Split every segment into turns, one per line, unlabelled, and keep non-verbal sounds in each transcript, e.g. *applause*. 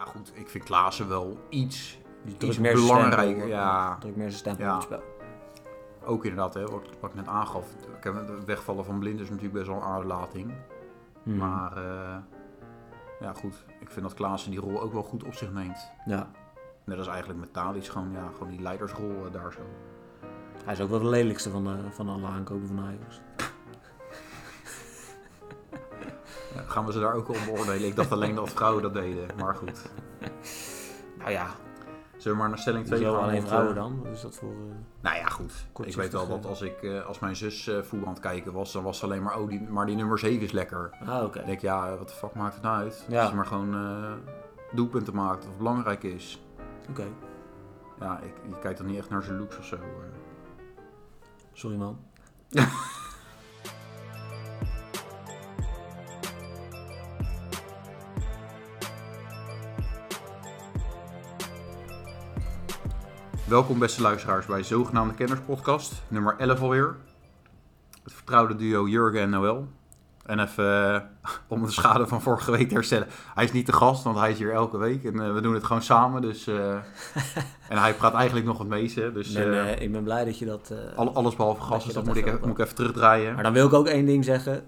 goed, ik vind Klaassen wel iets,
Die
iets
drukt meer zijn
belangrijker.
stempel-
Ja,
Drukt meer zijn stempel
Ja.
op het spel.
ook inderdaad, hè, wat, wat ik net aangaf. Ik heb het wegvallen van blind is natuurlijk best wel een aderlating.
Mhm.
Maar eh, ja, goed, ik vind dat Klaassen die rol ook wel goed op zich neemt.
Ja.
Net als eigenlijk met Thalys, gewoon, ja, gewoon die leidersrol eh, daar zo.
Hij is ook wel de lelijkste van, de, van alle aankopen van Ajax.
Ja, gaan we ze daar ook om beoordelen? Ik dacht alleen dat vrouwen dat deden, maar goed.
Nou ja,
Zullen we maar naar stelling 2
sowieso
gaan?
alleen
want,
vrouwen
eh,
dan. Wat is dat voor... eh,
Nou ja, goed. ik weet wel
eh,
dat als, ik, eh, als mijn zus eh, voetbal aan het kijken was, dan was ze alleen maar, oh, die, maar die nummer 7 is lekker.
Ah, oké.
Ik denk, ja, wat de fuck maakt het nou uit?
Ja.
Als je maar gewoon eh, doelpunten maakt of belangrijk is.
Oké.
Ja, ik, je kijkt dan niet echt naar zijn looks of zo. eh.
Sorry man.
Welkom beste luisteraars bij Zogenaamde Kennerspodcast, nummer 11 alweer. Het vertrouwde duo Jurgen en Noël. En even eh, *laughs* om de schade van vorige week te herstellen. Hij is niet de gast, want hij is hier elke week en eh, we doen het gewoon samen. Dus, eh, en hij praat eigenlijk nog het meeste, dus
Ik ben,
eh,
eh, ik ben blij dat je dat... eh,
al- alles behalve gast, dus
je
dat
dat
moet ik,
even
even, moet
oppakt.
ik even terugdraaien.
Maar dan wil ik ook één ding zeggen.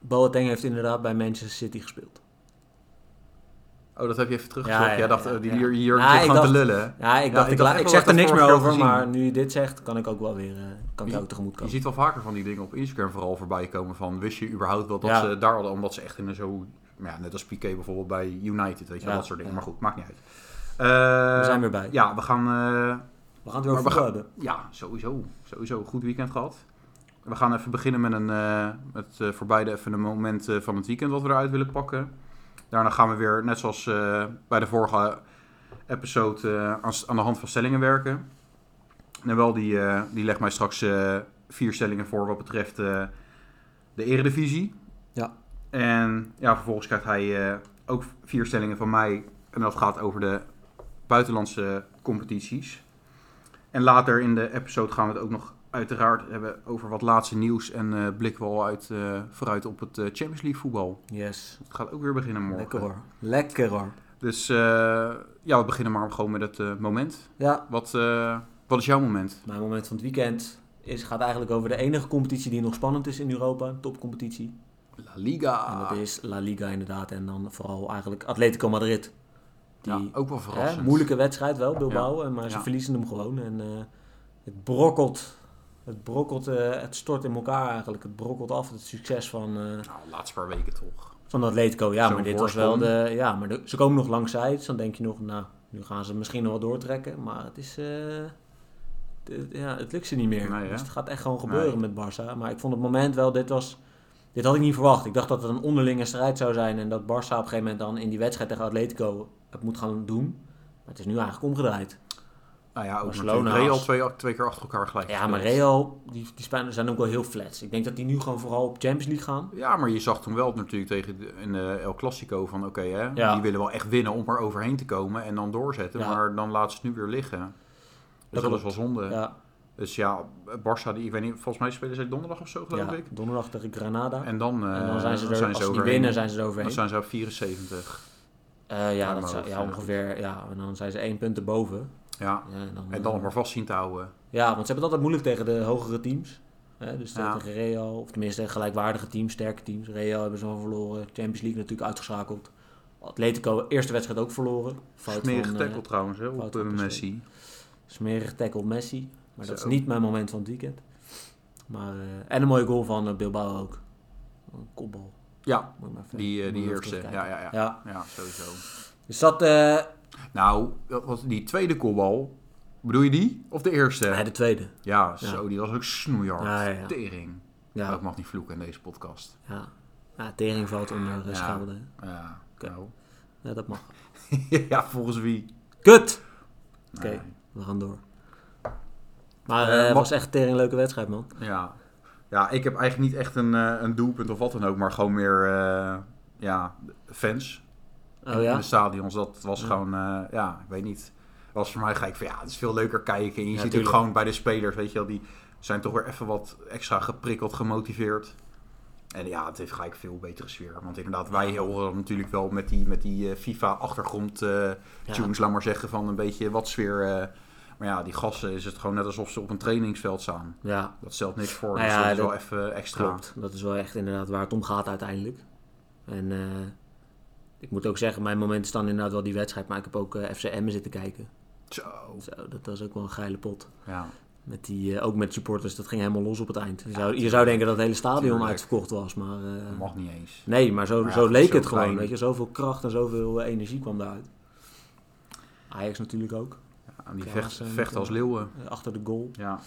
Boateng heeft inderdaad bij Manchester City gespeeld.
Oh, dat heb je even teruggezocht.
Ja, ja,
Jij dacht,
ja,
eh, die
ja.
Jur- Jurgen
Nou,
zit
ik
gewoon te
dacht-
lullen. hè?
Ja, ik,
Ja,
dacht,
ik dacht
ik, la-
echt
ik
wel
zeg er
dat
niks
vorig
meer
jaar
over,
gezien.
maar nu je dit zegt, kan ik ook wel weer eh, kan ik
Je-
ook tegemoet
Je
komen.
ziet wel vaker van die dingen op Instagram vooral voorbij komen van... Wist je überhaupt wel dat
Ja.
ze daar hadden? Omdat ze echt in een zo... Ja, net als Piqué bijvoorbeeld bij United, weet je wel,
Ja,
dat soort dingen.
ja.
Maar goed, maakt niet uit. Eh,
We zijn weer bij.
Ja, we gaan... eh,
We gaan het weer
Maar
over
we
voetbal hebben.
ja, sowieso. Sowieso. Goed weekend gehad. We gaan even beginnen met een... eh met eh, voor beide even een moment eh, van het weekend wat we eruit willen pakken. Daarna gaan we weer, net zoals eh, bij de vorige episode, eh, aan, aan de hand van stellingen werken. En wel, die, eh, die legt mij straks eh, vier stellingen voor wat betreft eh, de eredivisie.
Ja.
En ja, vervolgens krijgt hij eh, ook vier stellingen van mij. En dat gaat over de buitenlandse competities. En later in de episode gaan we het ook nog uiteraard hebben over wat laatste nieuws. En eh blikken we al uit, eh, vooruit op het eh, Champions League voetbal.
Yes.
Het gaat ook weer beginnen morgen.
Lekker hoor. Lekker hoor.
Dus eh, ja, we beginnen maar gewoon met het eh, moment.
Ja,
Wat, eh, wat is jouw moment?
mijn moment van het weekend is, gaat eigenlijk over de enige competitie die nog spannend is in Europa. Een topcompetitie.
La Liga.
En dat is La Liga inderdaad. En dan vooral eigenlijk Atletico Madrid. Die
ja, ook wel
hè,
verrassend.
moeilijke wedstrijd wel, Bilbao. en Maar ze
Ja.
verliezen hem gewoon. En eh, het brokkelt. Het brokkelt, eh, het stort in elkaar eigenlijk. Het brokkelt af. Het succes van, eh,
Nou, de laatste paar weken toch.
van Atletico. Ja,
Zo'n
maar dit
voorsprong.
was wel de. Ja, maar de- ze komen nog lang zijds. Dan denk je nog, nou, nu gaan ze misschien nog wel doortrekken. Maar het is. eh, het- ja, het lukt ze niet meer.
Nee, hè?
dus het gaat echt gewoon gebeuren met Barça. Maar ik vond het moment wel, dit was. Dit had ik niet verwacht. Ik dacht dat het een onderlinge strijd zou zijn. En dat Barça op een gegeven moment dan in die wedstrijd tegen Atletico het moet gaan doen. Maar het is nu eigenlijk omgedraaid.
Nou ja, ook
Barcelona
natuurlijk Real
als-
twee, twee keer achter elkaar gelijk.
Ja, maar
gespeeld.
Real, die, die Spanjaarden zijn ook wel heel flats. Ik denk dat die nu gewoon vooral op Champions League gaan.
Ja, maar je zag toen wel natuurlijk tegen de, in de El Clasico van oké, hè,
Ja.
die willen wel echt winnen om er overheen te komen en dan doorzetten.
Ja.
Maar dan laten ze het nu weer liggen. Dus dat,
klopt.
is wel zonde.
Ja,
Dus ja, Barça, die, ik weet niet, volgens mij spelen ze donderdag of zo geloof
ja,
ik.
donderdag tegen Granada.
En dan, eh,
En dan zijn ze er, als ze niet
overheen.
winnen, zijn ze er
Dan
overheen.
zijn ze op 74.
Eh, ja,
maar
dat zou,
dat,
ja,
eh,
ongeveer. Ja, en dan zijn ze één punt erboven.
Ja,
Ja, en dan, eh,
en dan nog maar vast zien te houden.
Ja, want ze hebben het altijd moeilijk tegen de hogere teams. Hè, dus
Ja.
tegen Real, of tenminste tegen gelijkwaardige teams, sterke teams. Real hebben ze al verloren. Champions League natuurlijk uitgeschakeld. Atletico, eerste wedstrijd ook verloren. Fout
Smerige
van, eh,
tackle trouwens, hè,
fout
op
van
eh,
PSV.
Messi.
smerig tackle Messi. Maar dat is
Zo.
niet mijn moment van het weekend. Maar, eh, en een mooie goal van eh, Bilbao ook. Een kopbal.
Ja,
Moet je maar even-
die, eh,
moet je
die
even
eerste. Ja,
terugkijken.
ja, ja. ja.
Ja,
sowieso.
dus dat... eh,
Nou, dat was die tweede kopbal, bedoel je die? Of de
nee,
eerste?
de tweede.
Ja, zo, die was ook snoeihard.
Ja, ja, ja.
Tering.
Ja,
Maar ik mag niet vloeken in deze podcast.
Ja. ja, tering valt onder de
Ja.
schouder. hè.
Ja,
Oké.
nou. *laughs*
Ja, dat mag.
ja, volgens wie?
Kut! Oké,
Nee.
we gaan door. Maar
Eh,
eh, het
mag-
was echt tering leuke wedstrijd, man.
Ja. ja, ik heb eigenlijk niet echt een, eh, een doelpunt of wat dan ook, maar gewoon meer eh, ja, fans
Oh
in, in
ja?
de stadions. Dat was
Ja.
gewoon, eh, ja, ik weet niet. Was voor mij gelijk van ja, het is veel leuker kijken. En je
Ja,
ziet
tuurlijk.
ook gewoon bij de spelers, weet je wel, die zijn toch weer even wat extra geprikkeld, gemotiveerd. En En ja, het heeft gelijk veel betere sfeer. Want inderdaad, wij horen dat natuurlijk wel met die, met die eh, FIFA-achtergrond eh, tunes, laat maar zeggen, van een beetje wat sfeer. eh. maar ja, die gassen is het gewoon net alsof ze op een trainingsveld staan.
Ja,
Dat stelt niks voor.
Nou
dus
ja,
dat is
dat-
wel even extra.
Klopt, dat is wel echt inderdaad waar het om gaat uiteindelijk. En eh, ik moet ook zeggen, mijn momenten staan inderdaad wel die wedstrijd, maar ik heb ook eh FC Emmen zitten kijken.
Zo.
Zo, dat was ook wel een geile pot.
Ja.
Met die, eh, ook met supporters, dat ging helemaal los op het eind. Je zou, je zou denken dat het hele stadion
tuurlijk.
uitverkocht was, maar... eh,
Dat mag niet eens.
nee, maar zo,
Maar ja,
zo leek
zo
het gewoon,
klein.
weet je. Zoveel kracht en zoveel eh, energie kwam daaruit. Ajax natuurlijk ook,
Ja, die
Klaassen
vecht,
met
vecht als
een-
leeuwen.
eh, achter de goal.
Ja.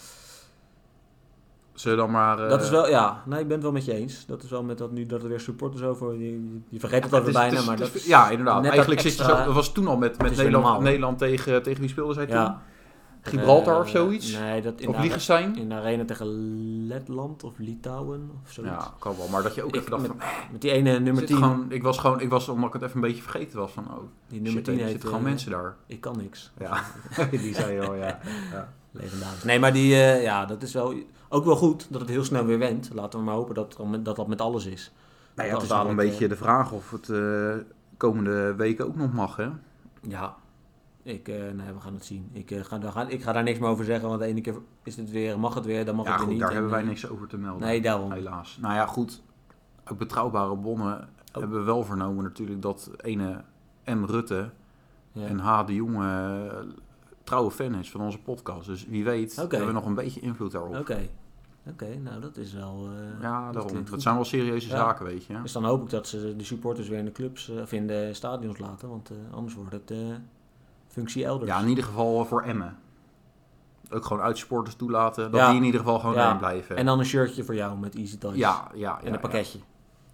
Zullen we dan maar... eh,
Dat is wel, ja, nee, ik ben het wel met je eens. Dat is wel met dat nu dat er weer supporters over. Je, je vergeet het
Ja,
alweer
het is-
bijna,
het is-
maar
het
dat
is- ja, inderdaad.
net dat
Eigenlijk zit je
extra-
zo, dat was toen al met,
is
met
weer
Nederland,
normaal.
Nederland tegen, tegen wie speelde zij toen?
Ja.
Gibraltar
Eh,
of zoiets?
Nee, dat in,
of
de, are-
Liechtenstein?
in de arena tegen Letland of Litouwen of zoiets.
Ja, kan wel. Maar dat je ook
Ik-
even dacht
met
van...
Met die ene nummer
Zit
10.
gewoon, ik was gewoon, ik was omdat ik het even een beetje vergeten was van, oh,
die nummer
shit,
10
er
heet
zitten gewoon
eh,
mensen
*laughs*
daar.
Ik kan niks.
Ja, die zei al, ja. ja.
Legendarisch. Nee, maar die, eh, ja, dat is wel ook wel goed dat het heel snel weer went. Laten we maar hopen dat dat met, dat, dat met alles
*laughs*
is.
Nou ja, het
Dat is
is daar een
natuurlijk,
beetje de vraag of het eh, komende weken ook nog mag, hè?
Ja. Ik, eh, nee, we gaan het zien. Ik, eh, ga, daar gaan, ik ga daar niks meer over zeggen, want de ene keer is het weer, mag het weer, dan mag
Ja,
het weer
goed,
niet.
daar
En,
hebben wij
eh,
niks over te melden.
Nee, daarom.
Helaas. Nou ja, goed. Ook betrouwbare bronnen
Oh.
hebben we wel vernomen natuurlijk dat ene M. Rutte
Ja.
en H. de Jonge eh, trouwe fan is van onze podcast. Dus wie weet
Oké.
hebben we nog een beetje invloed daarop.
Oké. Oké, nou dat is wel... eh,
Ja,
dat
daarom.
klinkt
Dat
goed.
zijn wel serieuze
Ja.
zaken, weet je.
Dus dan hoop ik dat ze de supporters weer in de clubs eh, of in de stadions laten, want eh, anders wordt het eh, functie elders.
Ja, in ieder geval eh, voor Emmen. Ook gewoon uitsporters toelaten. Dat
Ja.
die in ieder geval gewoon
Ja.
erin blijven.
En dan een shirtje voor jou met Easy Toys.
eh, ja, ja, ja,
En een pakketje.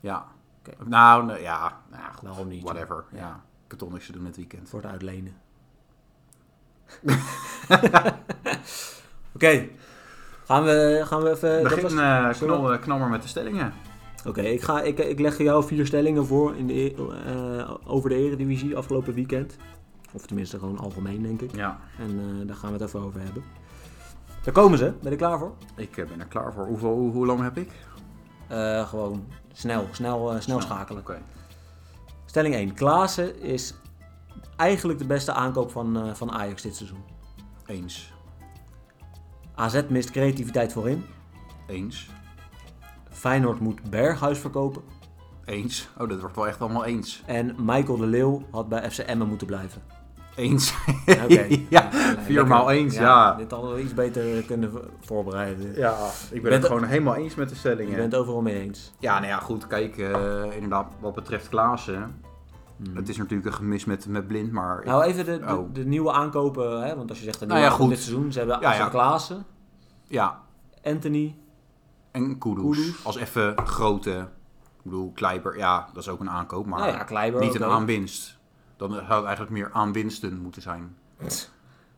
Ja. ja.
Oké.
Nou, nou, ja. Nou, ja, goed.
Waarom niet?
Whatever. Ja.
Ja. Eh,
Ik heb toch niks te doen dit weekend.
Voor het uitlenen. *laughs* Oké. Gaan, we, gaan we even... dat
Begin
was-
eh,
zullen we-
knal, eh, knal maar met de stellingen.
Oké, ik ga ik, ik leg jou vier stellingen voor in de, e- eh, over de Eredivisie afgelopen weekend. Of tenminste gewoon algemeen, denk ik.
Ja.
En eh, daar gaan we het even over hebben. Daar komen ze. Ben je er klaar voor?
Ik eh, ben er klaar voor. Hoeveel, hoe, hoe lang heb ik?
Eh, gewoon snel, snel, eh, snel,
Snel.
schakelen.
Oké.
Stelling 1. Klaassen is eigenlijk de beste aankoop van, eh, van Ajax dit seizoen.
Eens.
AZ mist creativiteit voorin.
Eens.
Feyenoord moet Berghuis verkopen.
Eens. Oh, dat wordt wel echt allemaal eens.
En Michael de Leeuw had bij FC Emmen moeten
*laughs*
blijven.
Eens.
Oké.
*laughs* ja.
lekker.
viermaal eens, ja.
Dit hadden we iets beter kunnen vo- voorbereiden.
Ja, ik ben
bent-
het gewoon helemaal eens met de
Je
stellingen.
bent overal mee eens.
Ja, nou ja, goed. Kijk, eh, inderdaad, wat betreft Klaassen.
Hmm.
Het is natuurlijk een gemis met, met Blind, maar... ik-
Nou, even de, de,
Oh.
de nieuwe aankopen, hè? want als je zegt de
Nou
nieuwe
ja,
aankoop
goed.
dit seizoen, ze hebben
Ja, ja.
Axel Klaassen,
ja,
Anthony,
en Kudus.
Kudus.
Als even grote... Ik bedoel, Kleiber, ja, dat is ook een aankoop, maar
nou ja, Kleiber.
niet een
oké.
aanwinst. Dan zou het eigenlijk meer aanwinsten moeten zijn.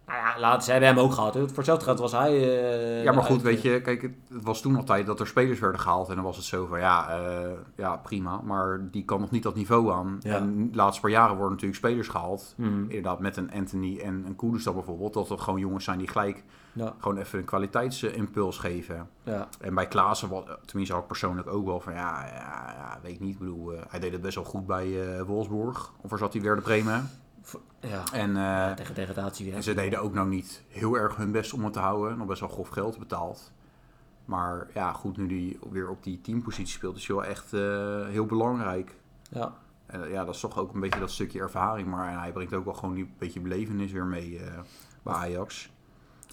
Nou ja, laat, ze hebben hem ook gehad. hè. Voor hetzelfde geld was hij... eh,
Ja, maar goed,
uit-
weet je, kijk, het het was toen altijd dat er spelers werden gehaald. En dan was het zo van, ja, eh, ja prima, maar die kan nog niet dat niveau aan.
Ja.
En de laatste paar jaren worden natuurlijk spelers gehaald.
Mhm.
Inderdaad, met een Anthony en een Kudus dan bijvoorbeeld. Dat er gewoon jongens zijn die gelijk
Ja,
gewoon even een kwaliteitsimpuls geven.
ja.
En bij Klaassen, wa- tenminste had ik persoonlijk ook wel van, ja, ja, ja weet ik niet. Ik bedoel, eh, hij deed het best wel goed bij eh Wolfsburg. Of waar zat hij weer de Bremen?
ja.
En, eh,
Tegen degradatie weer.
en ze deden ook nou niet heel erg hun best om het te houden. Nog best wel grof geld betaald. Maar ja, goed, nu die weer op die teampositie speelt, is hij wel echt eh, heel belangrijk.
Ja.
En eh, ja, dat is toch ook een beetje dat stukje ervaring. Maar hij brengt ook wel gewoon die beetje belevenis weer mee eh, bij Ajax.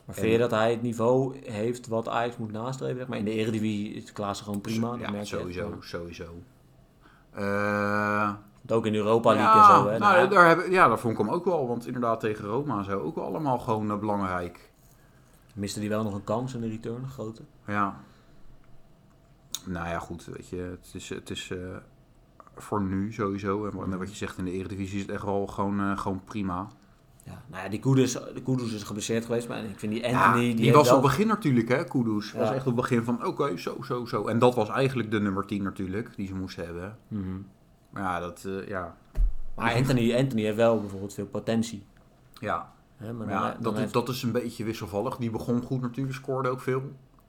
Maar vind je dat hij het niveau heeft wat Ajax moet nastreven? zeg Maar in de Eredivisie is Klaassen gewoon prima. dat
Dus ja,
merk je
sowieso,
echt. Maar
sowieso. Eh,
het Ook in de Europa League
ja,
en zo. Hè?
nou,
Nou,
daar heb, ik- ja, daar vond ik hem ook wel. Want inderdaad, tegen Roma en zo ook wel allemaal gewoon eh, belangrijk.
Miste hij wel nog een kans in de return, een grote.
Ja. Nou ja, goed, weet je, het is, het is eh, voor nu sowieso. En wat- wat je zegt in de Eredivisie is het echt wel gewoon, eh, gewoon prima.
Ja. Nou ja, die Kudus, de Kudus is geblesseerd geweest. Maar ik vind die
Ja,
Anthony...
die,
heeft
was
wel-
op het begin natuurlijk, hè, Kudus.
Ja.
was echt op het begin van, oké, zo, zo, zo. En dat was eigenlijk de nummer 10 natuurlijk, die ze moesten hebben.
Mhm.
Maar ja, dat, eh, ja.
Maar Anthony, Anthony heeft wel bijvoorbeeld veel potentie.
Ja,
Hè? Maar
maar
dan-
ja
dan
dat,
heeft-
dat is een beetje wisselvallig. Die begon goed natuurlijk, scoorde ook veel.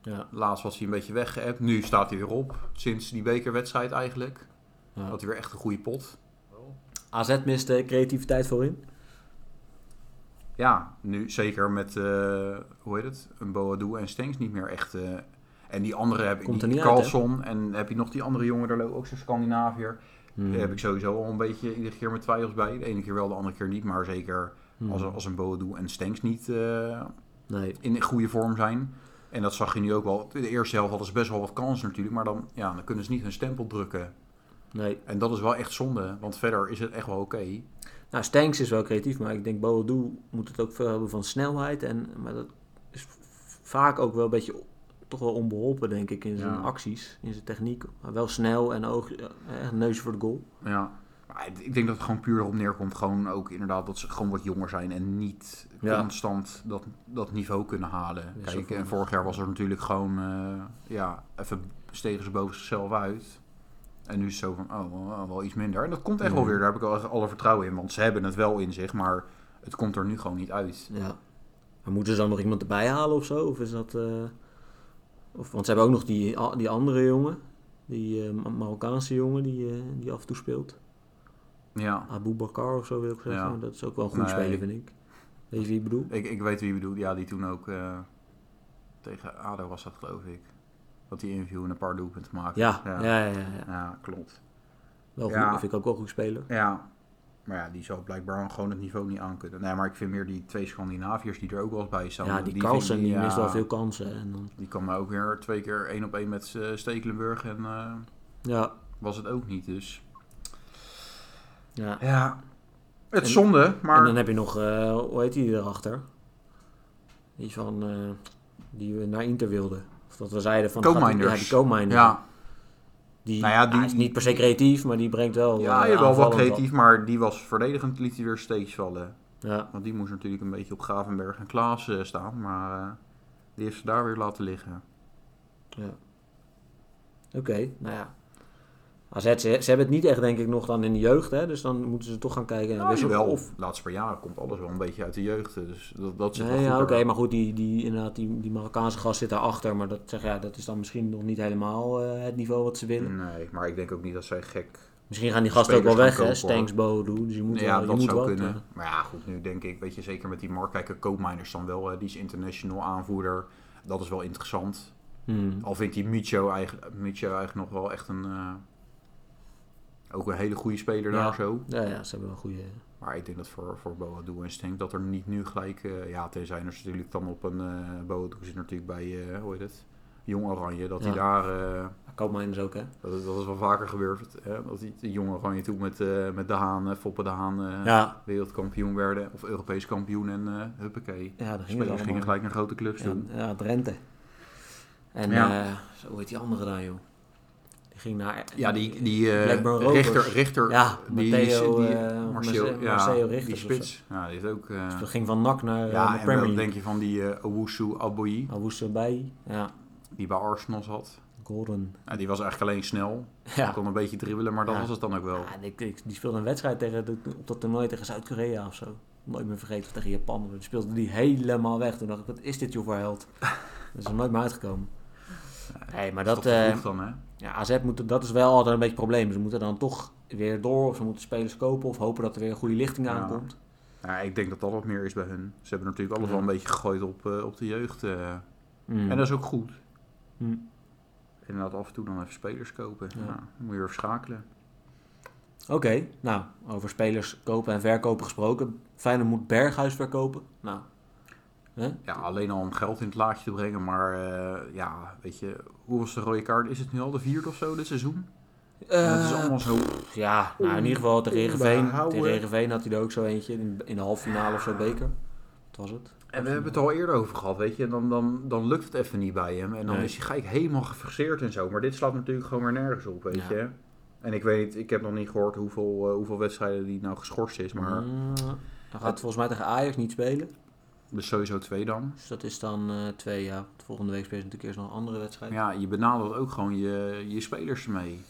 Ja.
Laatst was hij een beetje weggeëpt. Nu staat hij weer op. Sinds die bekerwedstrijd eigenlijk.
Ja.
Had hij weer echt een goede pot.
AZ miste creativiteit voorin.
Ja, nu zeker met, eh, hoe heet het? Een Boadu en Stengs niet meer echt. eh, en die andere heb
Komt
ik
er
niet.
niet uit, hè?
Carlson. en heb je nog die andere jongen, daar loopt ook zo'n Scandinaviër.
Hmm.
Daar heb ik sowieso al een beetje iedere keer mijn twijfels bij. De ene keer wel, de andere keer niet. Maar zeker
Hmm.
als, als een Boadu en Stengs niet eh,
Nee.
in goede vorm zijn. En dat zag je nu ook wel. De eerste helft hadden ze best wel wat kansen natuurlijk. Maar dan, ja, dan kunnen ze niet hun stempel drukken.
nee.
En dat is wel echt zonde. Want verder is het echt wel oké.
Nou, Stanks is wel creatief, maar ik denk Boadu moet het ook veel hebben van snelheid. En, maar dat is v- vaak ook wel een beetje o- toch wel onbeholpen, denk ik, in zijn
Ja.
acties, in zijn techniek. Maar wel snel en oog, eh, neusje voor de goal.
Ja. Maar het- ik denk dat het gewoon puur erop neerkomt. Gewoon ook inderdaad dat ze gewoon wat jonger zijn. En niet
Ja.
constant dat, dat niveau kunnen halen.
Ja,
Kijk,
zo
en
van-
vorig jaar was er natuurlijk gewoon... eh, ja, even stegen ze boven zichzelf uit. En nu is het zo van, oh, wel- wel iets minder. En dat komt echt wel
Mhm.
weer. Daar heb ik wel echt alle vertrouwen in. Want ze hebben het wel in zich. Maar het komt er nu gewoon niet uit.
Ja. Maar moeten ze dan nog iemand erbij halen of zo? Of is dat... eh, of, want ze hebben ook nog die, a- die andere jongen, die eh, Ma- Marokkaanse jongen die, eh, die af en toe speelt.
Ja.
Abu Bakar of zo wil ik zeggen.
Ja.
Dat is ook wel een goede
Nee.
speler, vind ik. Weet je wie ik bedoel?
Ik, ik weet wie je bedoelt. Ja, die toen ook eh, tegen ADO was dat geloof ik. Dat die interview en een paar doelpunten maakte.
Ja, ja,
Ja.
ja. ja, ja.
Ja, klopt.
Wel
Ja.
goed, vind ik ook wel goed speler.
Ja. Maar ja, die zou blijkbaar gewoon het niveau niet aankunnen. Nee, maar ik vind meer die twee Scandinaviërs die er ook wel eens bij staan.
ja, die,
vind
Carlsen
ik-
die
ja,
mist wel veel kansen. En dan,
Die kwam nou ook weer twee keer één op één met eh, Stekelenburg en eh,
ja,
was het ook niet. Dus
ja.
ja, het
En-
is zonde,
En
maar
dan heb je nog, eh, hoe heet die erachter? Die van, eh, die we naar Inter wilden. Of dat we zeiden van...
Co-minders.
Ja, die co-minder.
ja,
Die,
Nou ja, die-
hij is niet per se creatief, maar die brengt wel...
ja,
eh,
je wel wat
aanvallend
creatief, maar die was verdedigend liet hij weer steeds vallen.
wat. Ja,
Want die moest natuurlijk een beetje op Gravenberg en Klaas eh, staan. Maar eh, die heeft ze daar weer laten liggen.
oké. Nou ja. AZ, ze, ze hebben het niet echt denk ik nog dan in de jeugd, hè. Dus dan moeten ze toch gaan kijken.
Ja,
wissel-
wel.
Of,
Nou, Of laatst per jaar komt alles wel een beetje uit de jeugd. Dus dat, dat zit
nee,
wel
ja,
goed
oké.
erbij.
maar goed, die, die, inderdaad, die, die Marokkaanse gast zit daarachter. Maar dat, zeg, ja, dat is dan misschien nog niet helemaal eh, het niveau wat ze willen.
Nee, maar ik denk ook niet dat zij gek...
Misschien gaan die gasten ook wel
Spelers
weg,
gaan
hè?
kopen, hoor.
Stanks, Bodo, dus je moet
ja,
wel, je
dat
moet
zou
wel
kunnen.
tegen.
Maar ja, goed, nu denk ik, weet je, zeker met die markt. Kijk, een koopminers dan wel. hè, die is international aanvoerder. Dat is wel interessant.
Hmm.
Al vind ik die Micho eigenlijk, Micho eigenlijk nog wel echt een... eh, ook een hele goede speler
Ja.
daar zo.
Ja, ja, ze hebben wel een goede...
Maar ik denk dat voor, voor Boadu en Stenk dat er niet nu gelijk... eh, ja, tenzij er natuurlijk dan op een... eh Boadu zit natuurlijk bij, eh, hoe heet het? Jong Oranje. Dat hij
Ja.
daar... eh,
Koopmijners ook, hè?
dat, is, dat is wel vaker gebeurd. Hè? Dat die die Jong Oranje toen met, eh, met De Haan, eh, Foppe De Haan... eh,
ja.
wereldkampioen werden. Of Europees kampioen en eh huppakee.
Ja, daar ging het
Spelers gingen
allemaal.
gelijk naar grote clubs toe.
Ja, ja, Drenthe. En
Ja.
eh, zo, hoe heet die andere daar, joh? Die ging naar...
Ja, die, die eh,
Blackburn Rovers.
Richter, Richter,
Ja,
die,
Matteo,
die-
eh,
Marcel-
Marce-
ja,
Marceo
die
Richters of
spits. Ja, die is ook... eh,
Dus dat ging van NAC naar, eh,
ja,
naar
en dan
Premier
denk
League.
je van die eh Owusu Aboyi,
Awusu bij. Ja,
die bij Arsenal zat.
Gordon. *laughs*
Nou, die was eigenlijk alleen snel.
Ja.
Kon een beetje dribbelen, maar dat
Ja.
was het dan ook wel.
Ja, die, die die speelde een wedstrijd tegen de- op dat toernooi tegen Zuid-Korea of zo. Nooit meer vergeten, of tegen Japan. Toen speelde die helemaal weg. Toen dacht ik, wat is dit joh voor held?
*laughs*
Dat is er nooit meer uitgekomen. Nee, maar dat,
is toch te
eh,
vroeg dan, hè?
ja, AZ moet, dat is wel altijd een beetje een probleem. Ze moeten dan toch weer door, of ze moeten spelers kopen, of hopen dat er weer een goede lichting
Ja.
aankomt.
Ja, ik denk dat dat wat meer is bij hun. Ze hebben natuurlijk alles
Ja.
wel een beetje gegooid op, eh, op de jeugd. eh.
Mm.
En dat is ook goed.
Hm.
Inderdaad, af en toe dan even spelers kopen.
Ja.
Ja. dan moet je weer schakelen.
Oké, nou, over spelers kopen en verkopen gesproken. Feyenoord moet Berghuis verkopen. Nou, hè?
Ja, alleen al om geld in het laadje te brengen. Maar eh, ja, weet je, hoe was de rode kaart? Is het nu al de vierde of zo dit seizoen? En het is
Eh,
allemaal zo.
Ja, nou in ieder geval tegen Heerenveen.
Onderhouden.
Tegen Heerenveen had hij er ook zo eentje in, in de halve finale of zo beker. Dat was het.
En we hebben het al eerder over gehad, weet je. En dan, dan, dan lukt het even niet bij hem. En dan
Nee.
is hij gelijk helemaal gefixeerd en zo. Maar dit slaat natuurlijk gewoon weer nergens op, weet
Ja.
je. En ik weet, ik heb nog niet gehoord hoeveel, eh, hoeveel wedstrijden die nou geschorst is. Maar
Mm, hij gaat volgens mij tegen Ajax niet spelen.
dus sowieso twee dan.
Dus dat is dan eh, twee jaar. Volgende week speelt natuurlijk eerst nog een andere wedstrijd.
Maar
Ja,
ja, je benadert ook gewoon je, je spelers mee.